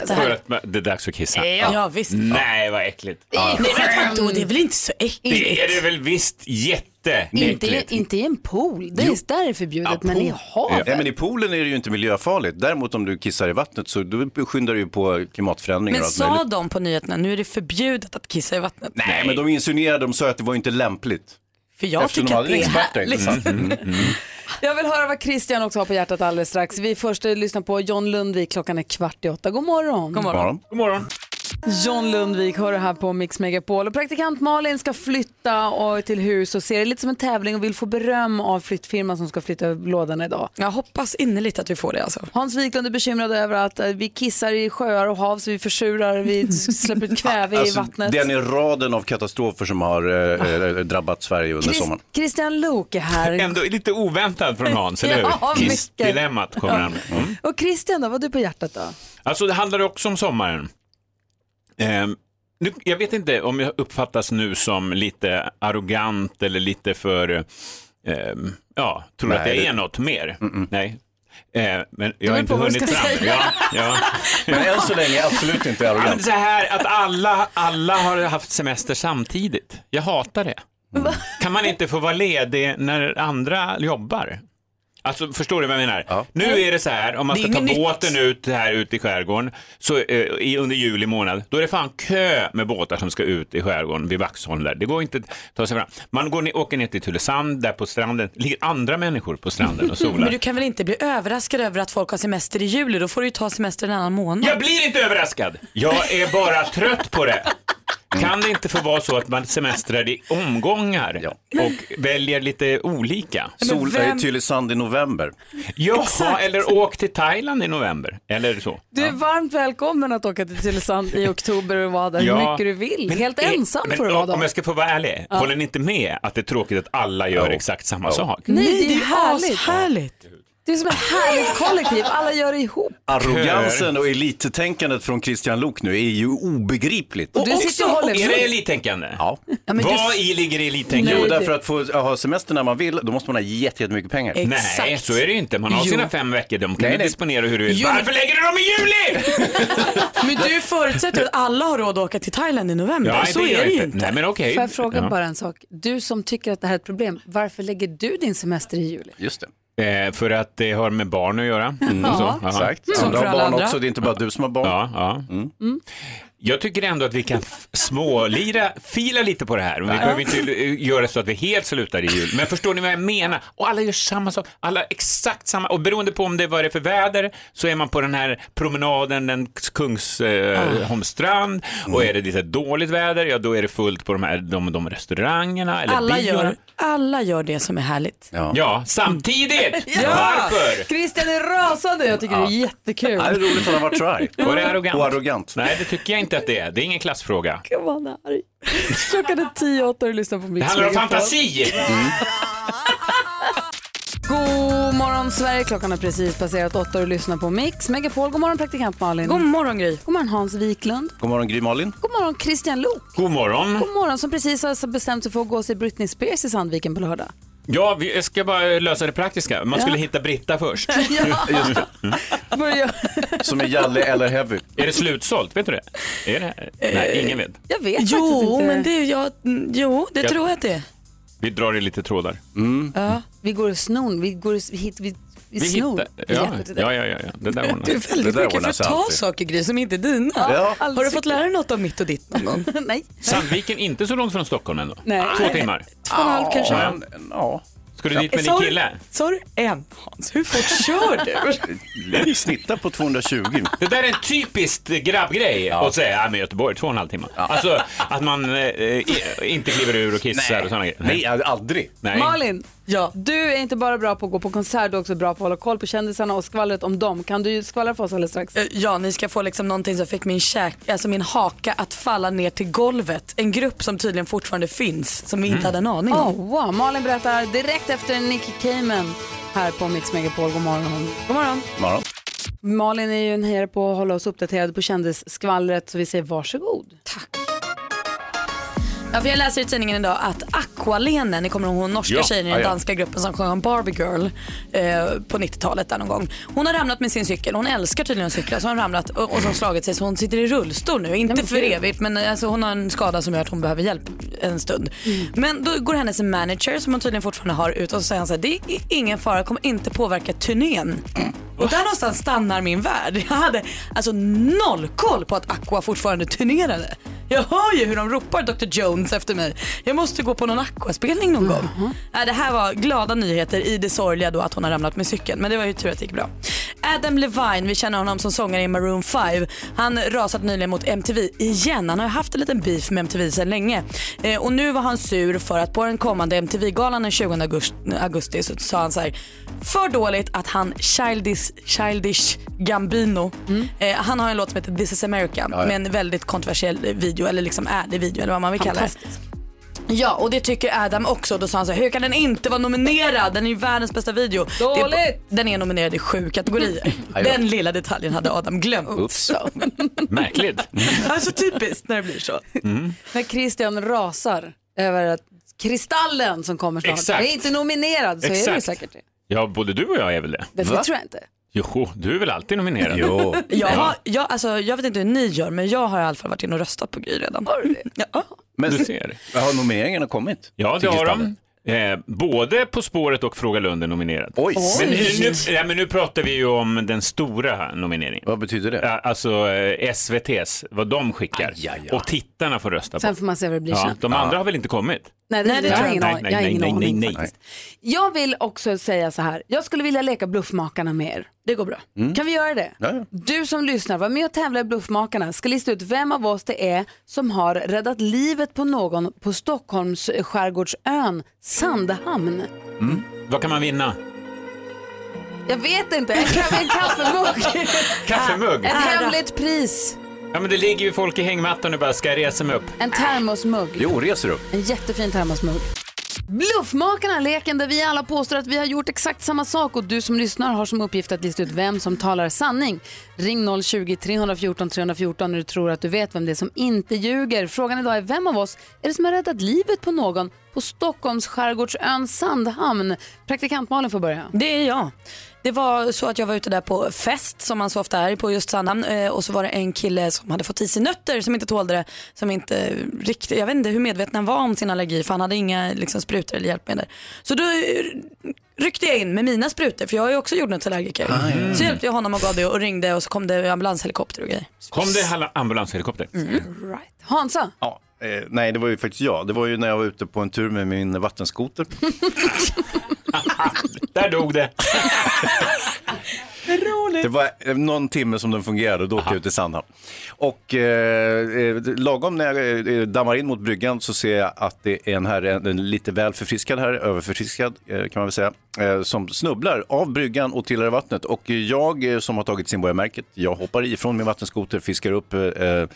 Speaker 10: För att man- det är dags att kissa.
Speaker 2: Eh, Ja. Ja, visst.
Speaker 10: Nej, vad äckligt.
Speaker 2: Nej men vadå, det är väl inte så äckligt?
Speaker 10: Det är det väl visst jätte
Speaker 1: Inte, i- inte i en pool, det är, där är det förbjudet, men i havet.
Speaker 3: Ja, men i poolen är det ju inte miljöfarligt. Däremot om du kissar i vattnet så då skyndar du ju på klimatförändringar
Speaker 2: Men
Speaker 3: och allt
Speaker 2: sa
Speaker 3: möjligt.
Speaker 2: de på nyheterna, nu är det förbjudet att kissa i vattnet?
Speaker 3: Nej, men de insinuerade, de sa att det var inte lämpligt.
Speaker 2: För jag
Speaker 3: Eftersom
Speaker 2: tycker
Speaker 3: de
Speaker 2: att
Speaker 3: hade
Speaker 2: det är
Speaker 3: experter,
Speaker 2: härligt.
Speaker 3: intressant. Mm, mm.
Speaker 1: Jag vill höra vad Christian också har på hjärtat alldeles strax. Vi först eh, lyssnar på John Lundvik, klockan är kvart i åtta. God morgon.
Speaker 3: Mm.
Speaker 10: God morgon. God morgon.
Speaker 1: John Lundvik hör du här på Mix Megapol och praktikant Malin ska flytta och till hus och ser det lite som en tävling och vill få beröm av flyttfirman som ska flytta lådorna idag.
Speaker 2: Jag hoppas innerligt att vi får det alltså.
Speaker 1: Hans Wiklund är bekymrad över att eh, vi kissar i sjöar och hav så vi försurar, vi
Speaker 2: Mm.
Speaker 1: s- släpper ut kväve i
Speaker 3: Alltså,
Speaker 1: vattnet.
Speaker 3: Den är raden av katastrofer som har eh, eh, drabbat Sverige under
Speaker 1: Chris-
Speaker 3: sommaren.
Speaker 1: Christian Lok är här.
Speaker 10: Ändå lite oväntat från Hans, eller
Speaker 1: Ja,
Speaker 10: hur?
Speaker 1: mycket.
Speaker 10: Kissdilemmat kommer han med. Mm.
Speaker 1: Och Christian då, vad har du på hjärtat då?
Speaker 10: Alltså det handlar också om sommaren. Ehm, nu, jag vet inte om jag uppfattas nu som lite arrogant eller lite för, ehm, ja, tror
Speaker 3: Nej,
Speaker 10: att jag
Speaker 3: det-
Speaker 10: är något mer. Nej. Eh, men jag har
Speaker 3: beror
Speaker 10: inte
Speaker 3: på vad du
Speaker 10: hunnit
Speaker 3: ska
Speaker 10: fram.
Speaker 3: säga.
Speaker 10: Ja, ja.
Speaker 3: Men än så länge är jag absolut inte
Speaker 10: Ja, men
Speaker 3: arrogant.
Speaker 10: så här att alla, alla har haft semester samtidigt. Jag hatar det. Mm. Kan man inte få vara ledig när andra jobbar? Alltså förstår du vad jag menar? Nu är det så här, om man
Speaker 2: Det är
Speaker 10: ska ta
Speaker 2: inget nytt.
Speaker 10: båten ut här ute i skärgården så, eh, i, under juli månad, då är det fan kö med båtar som ska ut i skärgården vid Vaxholm där. Det går inte att ta sig fram. Man går, ner- åker ner till Tylösand, där på stranden ligger andra människor på stranden och solar.
Speaker 2: Men du kan väl inte bli överraskad över att folk har semester i juli? Då får du ju ta semester en annan månad.
Speaker 10: Jag blir inte överraskad. Jag är bara trött på det. Kan det inte få vara så att man semestrar i omgångar och väljer lite olika?
Speaker 3: Men Sol- vem- eh, Tylösand i november.
Speaker 10: Jaha,
Speaker 1: Exakt.
Speaker 10: eller åk till Thailand i november. Eller så.
Speaker 1: Du är varmt välkommen att åka till Tylösand i oktober och vara där hur
Speaker 10: Ja.
Speaker 1: mycket du vill.
Speaker 10: Men
Speaker 1: Helt
Speaker 10: är-
Speaker 1: ensam
Speaker 10: men
Speaker 1: får du vara
Speaker 10: Om
Speaker 1: då.
Speaker 10: jag ska få vara ärlig,
Speaker 1: Ja.
Speaker 10: håller ni inte med att det är tråkigt att alla gör exakt samma sak?
Speaker 1: Nej, det är härligt. Det är som ett härligt kollektiv, alla gör det ihop.
Speaker 3: Arrogansen och elittänkandet från Christian Lok nu är ju obegripligt.
Speaker 1: Och du Och sitter och också- håller
Speaker 10: Är
Speaker 1: med.
Speaker 10: det elittänkande?
Speaker 3: Ja.
Speaker 10: men du- Vad i ligger elittänkande?
Speaker 3: Jo,
Speaker 10: Nej, det-
Speaker 3: därför att få ha semester när man vill, då måste man ha jätte- jättemycket pengar.
Speaker 10: Nej, så är det ju inte. Man har
Speaker 3: Jo.
Speaker 10: sina fem veckor, de kan
Speaker 3: Nej,
Speaker 10: du
Speaker 3: nej.
Speaker 10: disponera hur du vill.
Speaker 3: Jo, men-
Speaker 10: Varför lägger du dem i juli?
Speaker 2: Men du förutsätter att alla har råd att åka till Thailand i november.
Speaker 10: Ja,
Speaker 2: så
Speaker 10: det gör
Speaker 2: är det ju
Speaker 10: inte.
Speaker 2: inte.
Speaker 10: Nej, men okej.
Speaker 1: Får jag fråga
Speaker 10: Ja.
Speaker 1: bara en sak? Du som tycker att det här är ett problem, varför lägger du din semester i juli?
Speaker 3: Just
Speaker 10: det. Eh, för att det har med barn att göra.
Speaker 1: Ja.
Speaker 10: Och Mm. så. Aha.
Speaker 3: Exakt. Som Andra för har alla barn andra. också, det är inte bara du som har barn.
Speaker 10: Ja, ja. Jag tycker ändå att vi kan f- smålira, fila lite på det här. Vi behöver inte eh, göra så att vi helt slutar i jul. Men förstår ni vad jag menar? Och alla gör samma sak, alla exakt samma. Och beroende på om det vad det är för väder så är man på den här promenaden, den
Speaker 2: Ah.
Speaker 10: Kungsholmstrand. Och
Speaker 2: Mm.
Speaker 10: är det lite dåligt väder, ja då är det fullt på de här de, de restaurangerna eller
Speaker 2: Alla
Speaker 10: biorna.
Speaker 2: gör, alla gör det som är härligt.
Speaker 3: Ja,
Speaker 10: samtidigt!
Speaker 2: Ja.
Speaker 10: Varför?
Speaker 1: Christian är rasande, jag tycker det är
Speaker 10: Ja.
Speaker 1: jättekul.
Speaker 10: Var det arrogant?
Speaker 3: Och arrogant.
Speaker 10: Nej, det tycker jag inte att det är. Det är ingen klassfråga.
Speaker 1: Kan vara arg. Klockan är tio och åtta och du lyssnar på Mix
Speaker 10: Det handlar om
Speaker 1: Megapol.
Speaker 10: fantasi!
Speaker 1: God morgon Sverige, klockan har precis passerat åtta och du lyssnar på Mix Megapol. God morgon praktikant Malin.
Speaker 2: God morgon Gry.
Speaker 1: God morgon Hans Wiklund.
Speaker 3: God morgon Gry Malin.
Speaker 1: God morgon Christian Lok.
Speaker 10: God morgon.
Speaker 1: God morgon som precis har bestämt sig för att gå och se Britney Spears i Sandviken på lördag.
Speaker 10: Ja, vi jag ska bara lösa det praktiska. Man skulle
Speaker 1: Ja.
Speaker 10: hitta Britta först.
Speaker 1: Ja.
Speaker 3: Just det.
Speaker 10: Mm.
Speaker 1: Börja-
Speaker 3: Som är Jalle eller Heavy.
Speaker 10: Är det slutsålt? Vet du det? Är det? Nej, ingen vet.
Speaker 1: Jag vet faktiskt
Speaker 2: Jo,
Speaker 1: inte.
Speaker 2: men det, jag, jo, det
Speaker 10: Jag-
Speaker 2: tror jag att det är.
Speaker 10: Vi drar i lite trådar.
Speaker 1: Ja, vi går och snor, vi går och s- hit, vi, vi,
Speaker 10: Vi
Speaker 1: snor.
Speaker 10: hittar... Ja, ja, ja, ja, ja. Det där ordnar
Speaker 2: Du är väldigt mycket för att ta saker Gry som inte är dina.
Speaker 10: Ja.
Speaker 2: Har du fått lära dig något om mitt och ditt någon gång?
Speaker 1: Nej.
Speaker 10: Sandviken, inte så långt från Stockholm ändå.
Speaker 2: Nej.
Speaker 10: Två timmar.
Speaker 2: Två och en halv kanske.
Speaker 10: Ja.
Speaker 3: Ja,
Speaker 10: Ska du dit med din
Speaker 11: Sorry.
Speaker 10: kille?
Speaker 11: Sa du en Hans? Hur fort kör du?
Speaker 10: Snittar på 220. Det där är en typiskt grabbgrej att säga, ja men Göteborg, två och en halv timme. Alltså att man eh, eh, inte kliver ur och kissar och sådana grejer. Nej, aldrig. Nej.
Speaker 1: Malin, ja. du är inte bara bra på att gå på konsert, du är också bra på att hålla koll på kändisarna och skvallret om dem. Kan du skvallra för oss alldeles strax?
Speaker 2: Eh, Ja, ni ska få liksom någonting som fick min, käk, alltså min haka att falla ner till golvet. En grupp som tydligen fortfarande finns, som vi inte hade en aning om.
Speaker 1: Oh, wow. Malin berättar direkt efter Nicky Cayman här på Mix Megapol. God morgon. God morgon.
Speaker 3: Morgon.
Speaker 1: Malin är ju en hejare på att hålla oss uppdaterade på kändisskvallret så vi säger varsågod.
Speaker 2: Ja, för jag läser i tidningen idag att Aqualene, ni kommer ihåg hon norska
Speaker 1: Ja,
Speaker 2: tjejen i den
Speaker 1: ja, ja.
Speaker 2: danska gruppen som sjöng om Barbie Girl eh, på 90-talet där någon gång. Hon har ramlat med sin cykel, hon älskar tydligen att cykla, så hon har ramlat och, och så har hon slagit sig så hon sitter i rullstol nu. Inte för
Speaker 11: kul.
Speaker 2: evigt men eh, alltså, hon har en skada som gör att hon behöver hjälp en stund. Men då går hennes manager som hon tydligen fortfarande har ut och så säger han så här, det är ingen fara, kommer inte påverka turnén. Och där någonstans stannar min värld. Jag hade alltså noll koll på att Aqua fortfarande turnerade. Jag hör ju hur de ropar Dr Jones efter mig. Jag måste gå på någon Aqua-spelning någon gång. Äh, det här var glada nyheter i det sorgliga då att hon har ramlat med cykeln. Men det var ju tur att det gick bra. Adam Levine, vi känner honom som sångare i Maroon 5. Han rasade nyligen mot MTV igen. Han har ju haft en liten beef med MTV sedan länge. Eh, och nu var han sur för att på den kommande MTV-galan den 20 augusti, augusti så sa han så här. För dåligt att han Childish, Childish Gambino, eh, han har en låt som heter This is America
Speaker 11: Mm. Ja, ja.
Speaker 2: med en väldigt kontroversiell video eller liksom är det video eller vad man vill kalla det.
Speaker 11: Fantastiskt.
Speaker 2: Ja, och det tycker Adam också. Då sa han så här, hur kan den inte vara nominerad? Den är ju världens bästa video.
Speaker 11: Dåligt!
Speaker 2: Det är- Den är nominerad i sju kategorier.
Speaker 11: Aj då.
Speaker 2: Den lilla detaljen hade Adam glömt.
Speaker 11: Oops.
Speaker 2: Så.
Speaker 10: Märkligt.
Speaker 2: alltså typiskt när det blir så.
Speaker 1: När Christian rasar över att Kristallen som kommer snart
Speaker 10: Exakt.
Speaker 1: är inte nominerad så är det ju
Speaker 10: Exakt.
Speaker 1: säkert det.
Speaker 10: Ja, både du och jag är väl det?
Speaker 1: Det tror jag inte.
Speaker 10: Jo, du är väl alltid nominerad?
Speaker 2: Jo. Jag, har, jag, alltså, jag vet inte hur ni gör, men jag har i alla fall varit inne och röstat på Gry redan. Har du det? Ja.
Speaker 3: Men,
Speaker 10: Du ser.
Speaker 3: Har nomineringarna kommit?
Speaker 10: Ja, det
Speaker 3: till
Speaker 10: har de.
Speaker 3: Kristallen?
Speaker 10: Eh, både På spåret och Fråga Lund är nominerat.
Speaker 3: Oj.
Speaker 10: Men, nu, nu,
Speaker 3: Oj.
Speaker 10: ja, men nu pratar vi ju om den stora nomineringen.
Speaker 3: Vad betyder det?
Speaker 10: Alltså eh, SVTs, vad de skickar. Och tittarna får rösta
Speaker 1: Sen
Speaker 10: på.
Speaker 1: får man se vad det blir
Speaker 10: Ja,
Speaker 1: sen.
Speaker 10: de andra har väl inte kommit?
Speaker 1: Nej, det- Nej, det jag har ingen
Speaker 10: nej,
Speaker 1: aning.
Speaker 10: nej,
Speaker 1: Jag har
Speaker 10: nej,
Speaker 1: ingen
Speaker 10: nej,
Speaker 1: aning
Speaker 10: nej, nej.
Speaker 1: Jag vill också säga så här, jag skulle vilja leka Bluffmakarna med er. Det går bra.
Speaker 11: Mm.
Speaker 1: Kan vi göra det?
Speaker 11: Ja, ja.
Speaker 1: Du som lyssnar, var med och tävla i Bluffmakarna. Ska lista ut vem av oss det är som har räddat livet på någon på Stockholms skärgårdsön Sandhamn.
Speaker 10: Mm. Vad kan man vinna?
Speaker 1: Jag vet inte, en, ka- en kaffemugg.
Speaker 10: Kaffemugg?
Speaker 1: Ett hemligt pris.
Speaker 10: Ja, men det ligger ju folk i hängmattan och bara, ska jag resa mig upp?
Speaker 1: En termosmugg.
Speaker 10: Jo, reser upp.
Speaker 1: En jättefin termosmugg. Bluffmakarna, leken där vi alla påstår att vi har gjort exakt samma sak och du som lyssnar har som uppgift att lista ut vem som talar sanning. Ring 020-314 314 när du tror att du vet vem det är som inte ljuger. Frågan idag är vem av oss är det som har räddat livet på någon på Stockholms skärgårdsön Sandhamn? Praktikant Malin får börja.
Speaker 2: Det är jag. Det var så att jag var ute där på fest som man så ofta är på just Sandhamn eh, och så var det en kille som hade fått i sig nötter som inte tålde det. Som inte riktigt, jag vet inte hur medveten han var om sin allergi för han hade inga liksom, sprutor eller hjälpmedel. Så då eh, ryckte jag in med mina sprutor för jag är ju också jordnötsallergiker.
Speaker 10: ja.
Speaker 2: Så hjälpte jag honom och gav det och ringde och så kom det ambulanshelikopter och grejer.
Speaker 10: Kom det hela ambulanshelikopter?
Speaker 2: Mm.
Speaker 1: Hansa?
Speaker 3: Ja. Eh, nej, det var ju faktiskt jag. Det var ju när jag var ute på en tur med min vattenskoter.
Speaker 10: Där dog det.
Speaker 3: Det var eh, någon timme som den fungerade och då åkte jag ut i Sandhamn. Och eh, eh, lagom när jag eh, dammar in mot bryggan så ser jag att det är en herre, en- en lite väl förfriskad herre, överförfriskad eh, kan man väl säga, eh, som snubblar av bryggan och trillar i vattnet. Och jag eh, som har tagit simborgarmärket, jag hoppar ifrån min vattenskoter, fiskar upp eh, eh,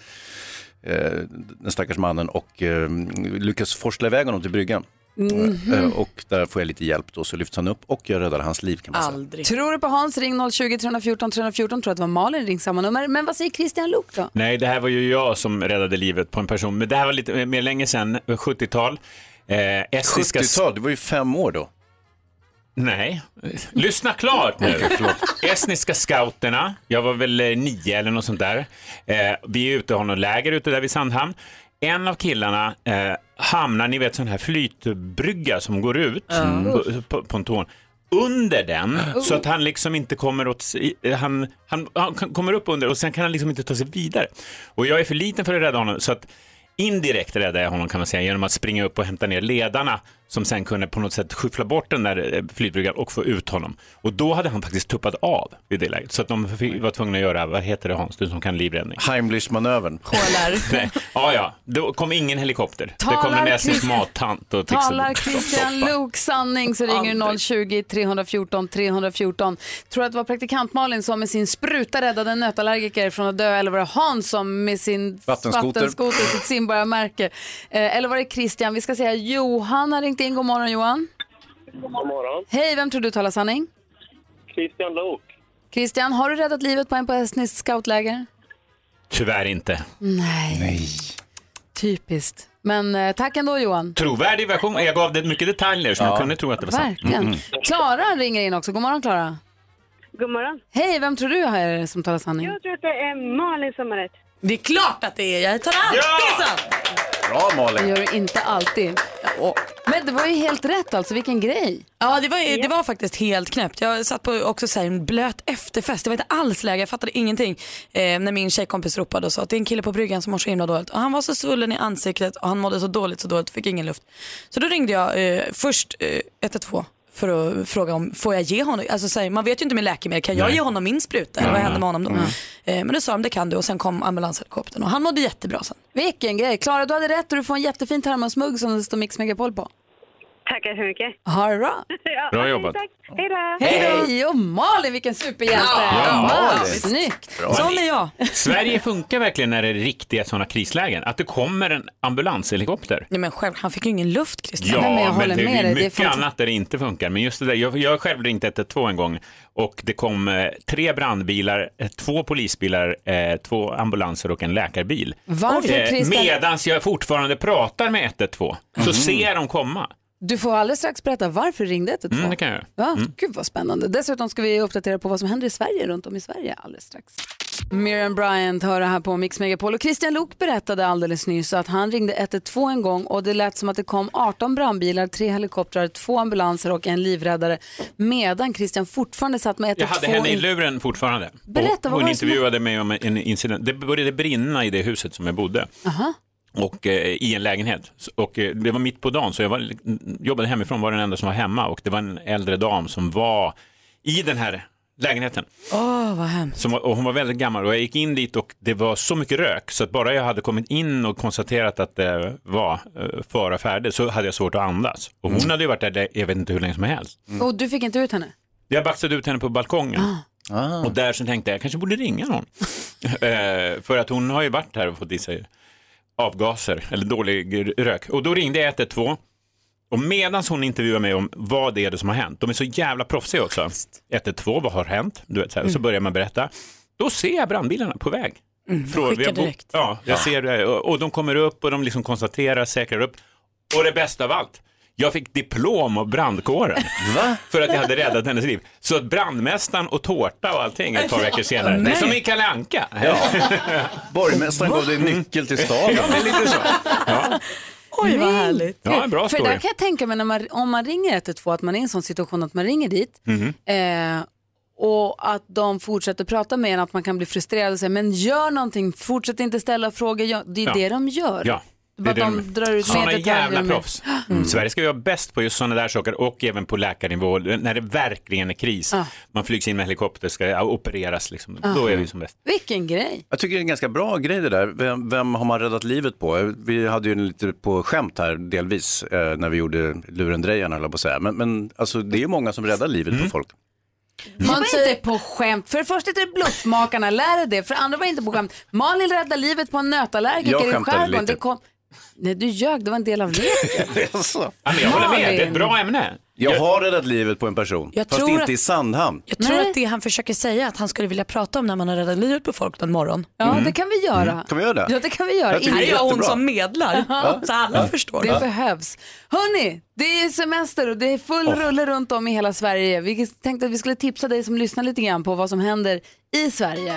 Speaker 3: den stackars mannen och eh, lyckas forsla iväg honom till bryggan.
Speaker 1: Mhm.
Speaker 3: Eh, Och där får jag lite hjälp då, så lyfts han upp och jag räddar hans liv kan man säga.
Speaker 2: Aldrig.
Speaker 1: Tror du på Hans, ring 020-314 314. Tror att det var Malin, ring samma nummer. Men vad säger Christian Luuk då?
Speaker 10: Nej, det här var ju jag som räddade livet på en person. Men det här var lite mer länge sedan, 70-tal. Eh, estniska...
Speaker 3: 70-tal, det var ju fem år då.
Speaker 10: Nej, lyssna klart nu. Estniska scouterna, jag var väl eh, nio eller något sånt där. Eh, vi är ute och har något läger ute där vid Sandhamn. En av killarna eh, hamnar, ni vet sån här flytbrygga som går ut
Speaker 11: Mm.
Speaker 10: på, på, på en tån. Under den, så att han liksom inte kommer åt, si- eh, han, han, han kan- kommer upp under och sen kan han liksom inte ta sig vidare. Och jag är för liten för att rädda honom så att Indirekt räddade jag honom kan man säga genom att springa upp och hämta ner ledarna som sen kunde på något sätt skyffla bort den där eh, flygbryggaren och få ut honom. Och då hade han faktiskt tuppat av i det läget. Så att de fick, var tvungna att göra, vad heter det Hans, du som kan livräddning?
Speaker 3: Heimlich-manövern.
Speaker 10: Nej, ja, ja. Då kom ingen helikopter. det kom
Speaker 1: Talar
Speaker 10: en estnisk
Speaker 1: Christ-
Speaker 10: mattant och fixade-
Speaker 1: Talar Christian Luuk sanning så ringer du 020 314 314. Tror att det var praktikant Malin som med sin spruta räddade en nötallergiker från att dö eller var det Hans som med sin
Speaker 3: Vattenskoter.
Speaker 1: vattenskoter sitt simborgarmärke? Eh, eller var det Christian? Vi ska säga Johan har ringt in. God morgon Johan.
Speaker 12: God morgon.
Speaker 1: Hej, vem tror du talar sanning?
Speaker 12: Christian Lok.
Speaker 1: Christian, har du räddat livet på en på estniskt scoutläger?
Speaker 10: Tyvärr inte.
Speaker 1: Nej,
Speaker 10: Nej.
Speaker 1: typiskt. Men eh, tack ändå Johan.
Speaker 10: Trovärdig version. Jag gav det mycket detaljer som jag kunde tro att det var sant.
Speaker 1: Verkligen.
Speaker 10: Mm.
Speaker 1: Klara ringer in också. God morgon Klara.
Speaker 13: God morgon.
Speaker 1: Hej, vem tror du är det som talar sanning?
Speaker 13: Jag tror att det är Malin som har rätt.
Speaker 2: Det är klart att det är. Jag tar allt.
Speaker 13: Ja!
Speaker 3: Bra
Speaker 1: Det
Speaker 3: Malin.
Speaker 1: gör du inte alltid. Men det var ju helt rätt alltså, vilken grej.
Speaker 2: Ja, det var, det var faktiskt helt knäppt. Jag satt på också så här, en blöt efterfest. Det var inte alls läge, jag fattade ingenting. Eh, när min tjejkompis ropade och sa att det är en kille på bryggan som mår så himla dåligt. Och han var så svullen i ansiktet och han mådde så dåligt, så dåligt, fick ingen luft. Så då ringde jag eh, först eh, 112 för att fråga om får jag ge honom, alltså, så här, man vet ju inte med läkemedel, kan jag
Speaker 11: Nej.
Speaker 2: ge honom min spruta eller vad händer med honom då? Eh, men då sa de det kan du och sen kom ambulanshelikoptern och han mådde jättebra sen.
Speaker 1: Vilken grej. Klara, du hade rätt och du får en jättefin termosmugg som det står Mix Megapol på.
Speaker 13: Tackar så mycket.
Speaker 1: Ha det bra.
Speaker 13: Ja,
Speaker 10: Bra jobbat.
Speaker 13: Tack. Hej då.
Speaker 1: Hej! Och Malin, vilken superhjälte.
Speaker 10: Ja,
Speaker 1: Wow,
Speaker 10: Malin.
Speaker 1: Snyggt.
Speaker 10: Bra. Sån är
Speaker 2: jag.
Speaker 10: Sverige funkar verkligen när det är riktiga sådana krislägen. Att det kommer en ambulanshelikopter.
Speaker 2: Nej, men själv, han fick ju ingen luft Christian.
Speaker 10: Ja, men,
Speaker 1: med
Speaker 10: det
Speaker 1: dig.
Speaker 10: är
Speaker 1: Det är
Speaker 10: mycket
Speaker 1: fantastiskt.
Speaker 10: annat där det inte funkar. Men just det där, jag, jag själv ringt 112 en gång och det kom eh, tre brandbilar, eh, två polisbilar, eh, två ambulanser och en läkarbil.
Speaker 1: Varför, Christian?
Speaker 10: Medan jag fortfarande pratar med 112 så
Speaker 3: Mhm.
Speaker 10: ser de komma.
Speaker 1: Du får alldeles strax berätta varför ringde 112.
Speaker 10: Mm, det kan jag göra.
Speaker 1: Ja,
Speaker 10: Mm.
Speaker 1: Gud vad spännande. Dessutom ska vi uppdatera på vad som händer i Sverige runt om i Sverige alldeles strax. Miriam Bryant hör det här på Mix Megapol och Christian Lok berättade alldeles nyss att han ringde 112 en gång och det lät som att det kom 18 brandbilar, tre helikoptrar, två ambulanser och en livräddare medan Christian fortfarande satt med 112.
Speaker 10: Jag hade henne i
Speaker 1: in-
Speaker 10: luren fortfarande.
Speaker 1: Berätta, vad
Speaker 10: och
Speaker 1: var
Speaker 10: hon
Speaker 1: det som-
Speaker 10: intervjuade mig om en incident. Det började brinna i det huset som jag bodde.
Speaker 1: Aha.
Speaker 10: och eh, i en lägenhet. S- Och, eh, det var mitt på dagen, så jag var, jobbade hemifrån, var den enda som var hemma och det var en äldre dam som var i den här lägenheten.
Speaker 2: Åh, vad hemskt.
Speaker 10: Som, var- och hon var väldigt gammal och jag gick in dit och det var så mycket rök så att bara jag hade kommit in och konstaterat att det var eh, fara färde så hade jag svårt att andas. Och
Speaker 1: Mm.
Speaker 10: hon hade ju varit där, jag vet inte hur länge som helst.
Speaker 1: Och du fick inte ut henne?
Speaker 10: Jag baxade ut henne på balkongen.
Speaker 2: Ah.
Speaker 10: Och där så tänkte jag, jag kanske borde ringa någon. eh, för att hon har ju varit här och fått i sig avgaser, eller dålig r- rök. Och då ringde jag 112. Och medan hon intervjuar mig om vad det är det som har hänt, de är så jävla proffsiga också. 112, vad har hänt? Du vet, så här. Och så börjar man berätta. Då ser jag brandbilarna på väg.
Speaker 2: Mm,
Speaker 10: Från-
Speaker 2: skicka
Speaker 10: vi har bo-
Speaker 2: direkt.
Speaker 10: Ja, jag ser det. Och, och de kommer upp och de liksom konstaterar, säkrar upp. Och det bästa av allt, jag fick diplom av brandkåren. För att jag hade räddat hennes liv. Så att brandmästaren och tårta och allting ett par veckor senare. Det är som i Kalle Anka.
Speaker 3: Ja. Borgmästaren gav dig nyckel till staden.
Speaker 10: Ja, det är lite så.
Speaker 2: Oj, vad härligt.
Speaker 10: Ja, en bra
Speaker 1: För
Speaker 10: story.
Speaker 1: där kan jag tänka mig när man, om man ringer 112 att man är i en sån situation att man ringer dit Mhm. Eh, och att de fortsätter prata med en, att man kan bli frustrerad och säga men gör någonting, fortsätt inte ställa frågor. Gör- Det är
Speaker 10: Ja.
Speaker 1: det de gör.
Speaker 10: Ja.
Speaker 1: Det är bara att de drar ut mer
Speaker 10: Såna
Speaker 1: detaljer
Speaker 10: jävla
Speaker 1: med-
Speaker 10: proffs.
Speaker 1: Mm.
Speaker 10: Sverige ska ju vara bäst på just sådana där saker och även på läkarnivå när det verkligen är kris.
Speaker 1: Ja.
Speaker 10: Man flygs in med helikopter, ska opereras liksom.
Speaker 1: Ja.
Speaker 10: Då är vi som bäst.
Speaker 1: Vilken grej.
Speaker 3: Jag tycker det är en ganska bra grej det där. Vem, vem har man räddat livet på? Vi hade ju en lite på skämt här delvis eh, när vi gjorde lurendrejarna höll jag på att säga. Men, men alltså, det är ju många som räddar livet
Speaker 2: Mm.
Speaker 3: på folk.
Speaker 1: Man säger inte på skämt. För det första heter det bluffmakarna, lär dig det. För det andra var det inte på skämt. Malin räddade livet på en
Speaker 10: Jag
Speaker 1: nötallergiker i
Speaker 10: skämtade
Speaker 1: skärgården.
Speaker 10: lite.
Speaker 1: Det kom... Nej, du ljög. Det var en del av leken.
Speaker 3: ja,
Speaker 10: men jag håller med,
Speaker 1: Malin.
Speaker 10: det är ett bra ämne.
Speaker 3: Jag har räddat livet på en person,
Speaker 2: Jag
Speaker 3: fast
Speaker 2: tror
Speaker 3: inte
Speaker 2: att-
Speaker 3: i Sandhamn.
Speaker 2: Jag tror att det han försöker säga är att han skulle vilja prata om när man har räddat livet på folk någon morgon.
Speaker 1: Ja, det kan vi göra.
Speaker 3: Kan vi göra det?
Speaker 1: Ja, det kan vi göra.
Speaker 3: Jag tycker det är
Speaker 2: Här är jag hon
Speaker 3: jättebra.
Speaker 2: som medlar,
Speaker 1: Ja.
Speaker 2: så alla
Speaker 1: Ja.
Speaker 2: förstår.
Speaker 1: Det behövs. Hörni, det är semester och det är full rulle runt om i hela Sverige. Vi tänkte att vi skulle tipsa dig som lyssnar lite grann på vad som händer i Sverige.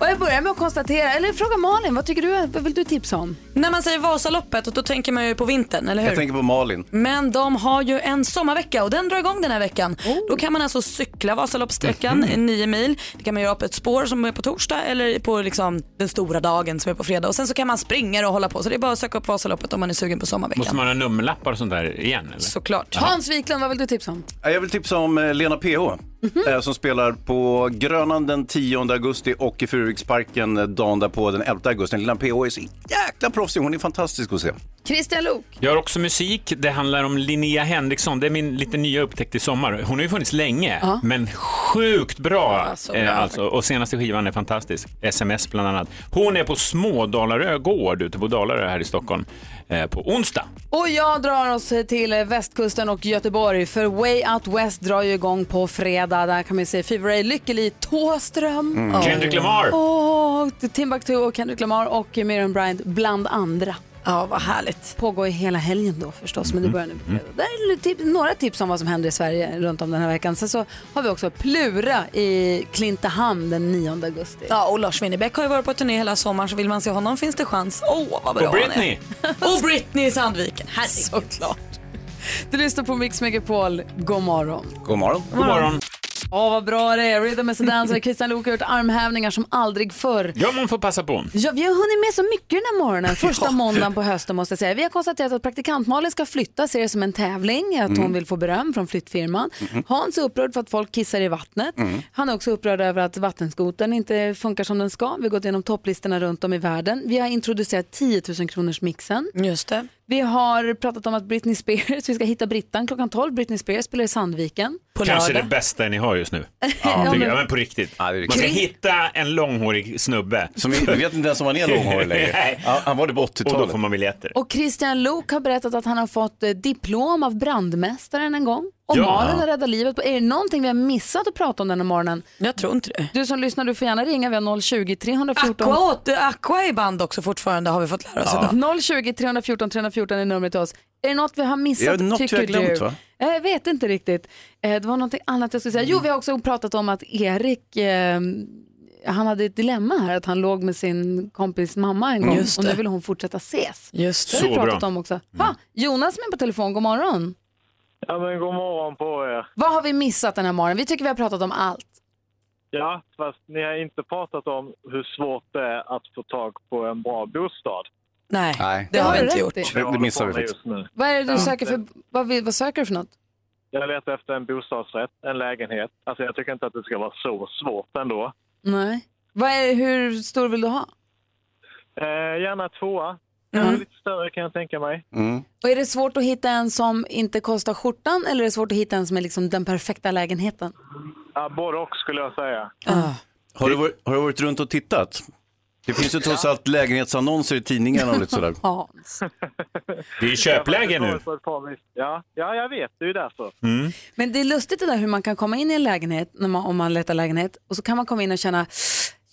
Speaker 1: Och jag börjar med att konstatera, eller fråga Malin, vad tycker du, vad vill du tipsa om?
Speaker 2: När man säger Vasaloppet, och då tänker man ju på vintern, eller hur?
Speaker 3: Jag tänker på Malin.
Speaker 2: Men de har ju en sommarvecka och den drar igång den här veckan. Då kan man alltså cykla Vasaloppssträckan,
Speaker 1: Mhm.
Speaker 2: 9 mil. Det kan man göra på ett spår som är på torsdag eller på liksom den stora dagen som är på fredag. Och sen så kan man springa och hålla på. Så det är bara att söka upp Vasaloppet om man är sugen på sommarveckan.
Speaker 10: Måste man ha nummerlappar och sånt där igen? Eller?
Speaker 2: Såklart.
Speaker 10: Jaha.
Speaker 1: Hans Wiklund, vad vill du tipsa om?
Speaker 3: Ja, Jag vill tipsa om eh, Lena PH
Speaker 2: Mhm.
Speaker 3: eh, som spelar på Grönan den 10 augusti och i Furuviksparken eh, dagen därpå den 11 augusti. Lena PH är så jäkla proffsig, hon är fantastisk att se.
Speaker 1: Christian Lok.
Speaker 10: Jag har också musik. Det handlar om Linnea Henriksson. Det är min lite nya upptäckt i sommar. Hon har ju funnits länge,
Speaker 1: Ja.
Speaker 10: men sjukt bra.
Speaker 1: Ja, så bra.
Speaker 10: eh, alltså. Och senaste skivan är fantastisk. SMS bland annat. Hon är på Smådalarö gård ute på Dalarö här i Stockholm eh, på onsdag.
Speaker 1: Och jag drar oss till västkusten och Göteborg för Way Out West drar ju igång på fredag. Där kan man ju se Fever Ray, Lykkeli, Tåström.
Speaker 10: Mm. Kendrick Lamar.
Speaker 1: Och Timbuktu och Kendrick Lamar och Miriam Bryant bland andra.
Speaker 2: Ja, vad härligt.
Speaker 1: Pågår ju hela helgen då förstås, men det börjar nu på fredag. Där är lite tip- några tips om vad som händer i Sverige runt om den här veckan. Sen så har vi också Plura i Klintehamn den 9 augusti.
Speaker 2: Ja, och Lars Winnerbäck har ju varit på turné hela sommaren så vill man se honom finns det chans. Åh, vad bra
Speaker 1: Och Britney.
Speaker 2: han är. Och Britney i Sandviken. Herregud. Såklart.
Speaker 1: Du lyssnar på Mix Megapol. God morgon.
Speaker 3: God morgon.
Speaker 1: God morgon. Åh, vad bra det är. Rhythm is a dancer. Christian Luuk har gjort armhävningar som aldrig förr.
Speaker 10: Ja, man får passa på.
Speaker 1: Ja, vi har hunnit med så mycket den här morgonen. Första måndagen på hösten måste jag säga. Vi har konstaterat att praktikant Malin ska flytta, ser det som en tävling, att hon
Speaker 14: Mm.
Speaker 1: vill få beröm från flyttfirman.
Speaker 14: Mhm.
Speaker 1: Hans är upprörd för att folk kissar i vattnet.
Speaker 14: Mm.
Speaker 1: Han är också upprörd över att vattenskotern inte funkar som den ska. Vi har gått igenom topplistorna runt om i världen. Vi har introducerat 10 000 kronors mixen.
Speaker 2: Just det.
Speaker 1: Vi har pratat om att Britney Spears, vi ska hitta Brittan klockan 12. Britney Spears spelar i Sandviken.
Speaker 10: Kanske det bästa ni har just nu. Ja,
Speaker 1: Ja,
Speaker 10: tycker
Speaker 1: men-
Speaker 10: jag. men på riktigt. Man ska
Speaker 3: Kring-
Speaker 10: hitta en långhårig snubbe.
Speaker 3: Som vi vi vet inte ens om han är långhårig längre.
Speaker 10: Nej.
Speaker 3: Ja, Han var det på 80-talet.
Speaker 10: Och då får man biljetter.
Speaker 1: Och Christian Lok har berättat att han har fått eh, diplom av brandmästaren en gång. Och
Speaker 10: Ja.
Speaker 1: Malin har räddat livet. på. Är det någonting vi har missat att prata om den här morgonen?
Speaker 2: Jag tror inte det.
Speaker 1: Du som lyssnar, du får gärna ringa. Vi har 020-314.
Speaker 2: Aqua, åt- Aqua är i band också fortfarande har vi fått lära oss
Speaker 1: Ja.
Speaker 2: idag.
Speaker 1: 020 314 314 är numret till oss. Är det något vi har
Speaker 2: Är
Speaker 1: missat?
Speaker 2: det något vi
Speaker 1: tycker
Speaker 2: har glömt,
Speaker 1: du?
Speaker 2: va?
Speaker 1: Eh, Jag vet inte riktigt. Eh, Det var något annat jag skulle säga. Jo, vi har också pratat om att Erik, eh, han hade ett dilemma här, att han låg med sin kompis mamma en gång
Speaker 2: Mm. Just
Speaker 1: och nu
Speaker 2: det.
Speaker 1: vill hon fortsätta ses.
Speaker 2: Just
Speaker 1: det. har vi
Speaker 2: Så
Speaker 1: pratat
Speaker 2: bra.
Speaker 1: om också. Ha, Jonas med på telefon, god morgon.
Speaker 12: Ja, men god morgon på er.
Speaker 1: Vad har vi missat den här morgonen? Vi tycker vi har pratat om allt.
Speaker 12: Ja, fast ni har inte pratat om hur svårt det är att få tag på en bra bostad.
Speaker 2: Nej,
Speaker 12: det
Speaker 1: har vi inte gjort.
Speaker 3: Det, det missar vi faktiskt.
Speaker 1: Vad är det du
Speaker 12: Ja.
Speaker 1: söker för, vad, vi- vad söker du för något?
Speaker 12: Jag letar efter en bostadsrätt, en lägenhet. Alltså jag tycker inte att det ska vara så svårt ändå.
Speaker 1: Nej. Vad är, hur stor vill du ha?
Speaker 12: Eh, gärna tvåa. Lite större kan jag tänka mig.
Speaker 1: Och är det svårt att hitta en som inte kostar skjortan eller är det svårt att hitta en som är liksom den perfekta lägenheten?
Speaker 12: Ja, både och skulle jag säga.
Speaker 3: Har, du, varit- har du varit runt och tittat? Det finns ju trots allt lägenhetsannonser i tidningarna och lite sådär.
Speaker 1: Hans.
Speaker 10: Det är ju köpläge nu.
Speaker 12: På ett par vis. Ja, ja, jag vet. Det är ju därför.
Speaker 3: Mm.
Speaker 1: Men det är lustigt det där hur man kan komma in i en lägenhet när man, om man letar lägenhet och så kan man komma in och känna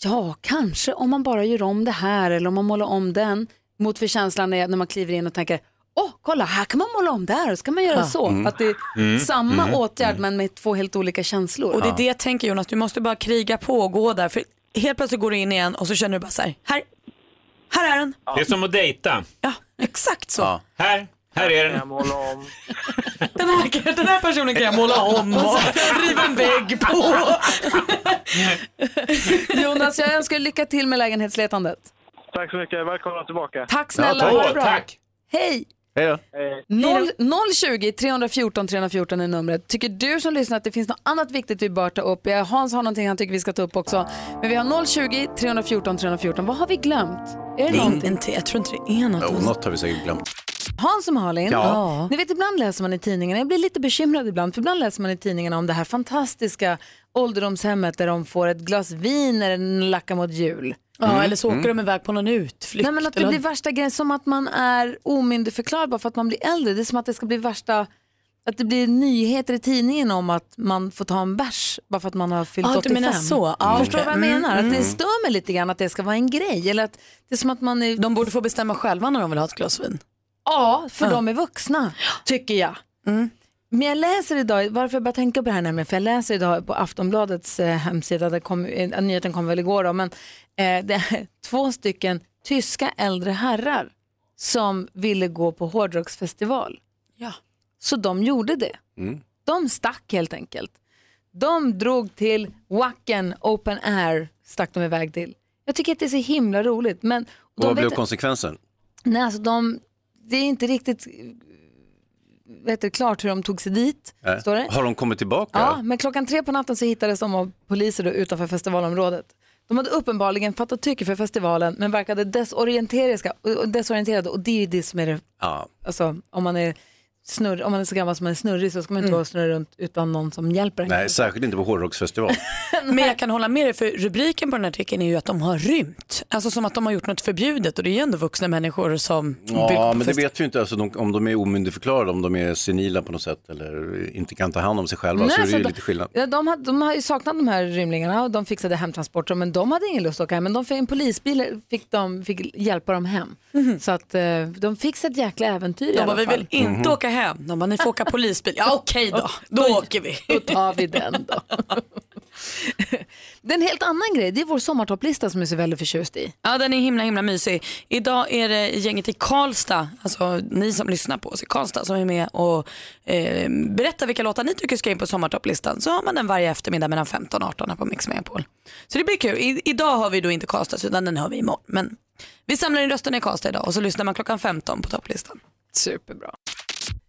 Speaker 1: ja, kanske om man bara gör om det här eller om man målar om den mot för känslan är när man kliver in och tänker åh, kolla här kan man måla om där och så kan man göra
Speaker 2: Ja.
Speaker 1: så.
Speaker 2: Mm.
Speaker 1: Att det är
Speaker 2: Mm,
Speaker 1: samma
Speaker 2: mm,
Speaker 1: åtgärd men med två helt olika känslor.
Speaker 2: Och det är det jag tänker Jonas, du måste bara kriga på och gå där. För helt plötsligt går du in igen och så känner du bara så här, här, här är den.
Speaker 10: Det är som att dejta.
Speaker 2: Exakt så.
Speaker 10: Här, här är den.
Speaker 2: Den, här, den här personen kan jag måla om och riva en vägg på.
Speaker 1: Jonas, jag önskar dig lycka till med lägenhetsletandet.
Speaker 12: Tack så mycket. Välkomna tillbaka.
Speaker 1: Tack snälla, ha det bra. Hej!
Speaker 3: Hej då.
Speaker 1: Noll- 020 314 314 är numret. Tycker du som lyssnar att det finns något annat viktigt vi bör ta upp? Ja, Hans har någonting han tycker vi ska ta upp också. Men vi har 020 314 314. Vad har vi glömt? Är det någonting?
Speaker 2: inte, jag tror inte det är något.
Speaker 3: Jo, något har vi säkert glömt.
Speaker 1: Hans och Malin,
Speaker 3: Ja.
Speaker 1: ni vet ibland läser man i tidningarna, jag blir lite bekymrad ibland, för ibland läser man i tidningarna om det här fantastiska ålderdomshemmet där de får ett glas vin när den lackar mot jul.
Speaker 2: Ja,
Speaker 3: Mm.
Speaker 2: eller så åker de iväg på någon utflykt.
Speaker 1: Nej men att det
Speaker 2: eller-
Speaker 1: blir värsta grejen, som att man är omyndigförklarad bara för att man blir äldre. Det är som att det ska bli värsta, att det blir nyheter i tidningen om att man får ta en bärs bara för att man har fyllt
Speaker 2: Ah, du
Speaker 1: 85.
Speaker 2: menar så. Ah,
Speaker 1: Förstår du
Speaker 2: okej.
Speaker 1: vad jag
Speaker 2: Mm,
Speaker 1: menar? Att det
Speaker 2: mm.
Speaker 1: stör mig lite grann att det ska vara en grej. Eller att det är som att man är...
Speaker 2: De borde få bestämma själva när de vill ha ett glas vin.
Speaker 1: Ja, för
Speaker 2: Ja.
Speaker 1: de är vuxna, tycker jag. Men jag läser idag, varför jag börjar tänka på det här nämligen, för jag läser idag på Aftonbladets eh, hemsida, där kom, eh, nyheten kom väl igår då, men eh, det är två stycken tyska äldre herrar som ville gå på hårdrocksfestival.
Speaker 2: Ja.
Speaker 1: Så de gjorde det.
Speaker 3: Mm.
Speaker 1: De stack helt enkelt. De drog till Wacken Open Air, stack de iväg till. Jag tycker att det är så himla roligt. Men,
Speaker 3: Och vad
Speaker 1: de
Speaker 3: blev
Speaker 1: vet-
Speaker 3: konsekvensen?
Speaker 1: Nej, alltså de, det är inte riktigt vet du, klart hur de tog sig dit.
Speaker 3: Nej.
Speaker 1: Står det?
Speaker 3: Har de kommit tillbaka?
Speaker 1: Ja, men klockan tre på natten så hittades de av poliser då utanför festivalområdet. De hade uppenbarligen fattat tycke för festivalen men verkade desorienteriska, och- desorienterade och det är ju det som är det,
Speaker 3: Ja.
Speaker 1: alltså om man är, snurr, om man är så gammal som man är snurrig så ska man
Speaker 3: Mm.
Speaker 1: inte vara snurrig runt utan någon som hjälper en.
Speaker 3: Nej, särskilt inte på hårdrocksfestival.
Speaker 2: Men jag kan hålla med dig för rubriken på den här artikeln är ju att de har rymt. Alltså som att de har gjort något förbjudet och det är ju ändå vuxna människor som bygger
Speaker 3: Ja,
Speaker 2: på
Speaker 3: men det
Speaker 2: fest-
Speaker 3: vet vi ju inte alltså, de, om de är omyndigförklarade, om de är senila på något sätt eller inte kan ta hand om sig själva så är det ju
Speaker 1: alltså,
Speaker 3: lite skillnad.
Speaker 1: De, ja, de, hade, de har ju saknat de här rymlingarna och de fixade hemtransporter men de hade ingen lust att åka hem. Men de fick en polisbil fick de fick hjälpa dem hem. Så att eh, de fick sig ett jäkla äventyr i
Speaker 2: Mhm. De
Speaker 1: alla
Speaker 2: bara, vi
Speaker 1: fall.
Speaker 2: vill inte
Speaker 3: Mhm.
Speaker 2: åka hem. De bara, ni får åka polisbil. Ja okej då, då åker vi.
Speaker 1: Då tar vi den då. Det är en helt annan grej, det är vår sommartopplista som jag är så väldigt förtjust i.
Speaker 2: Ja, den är himla himla mysig. Idag är det gänget i Karlstad, alltså ni som lyssnar på oss i Karlstad som är med och eh, berättar vilka låtar ni tycker ska in på sommartopplistan. Så har man den varje eftermiddag mellan 15 och 18 här på Mix Megapol. Så det blir kul. I, idag har vi då inte Karlstad utan den har vi imorgon. Men vi samlar in rösterna i Karlstad idag och så lyssnar man klockan 15 på topplistan.
Speaker 1: Superbra.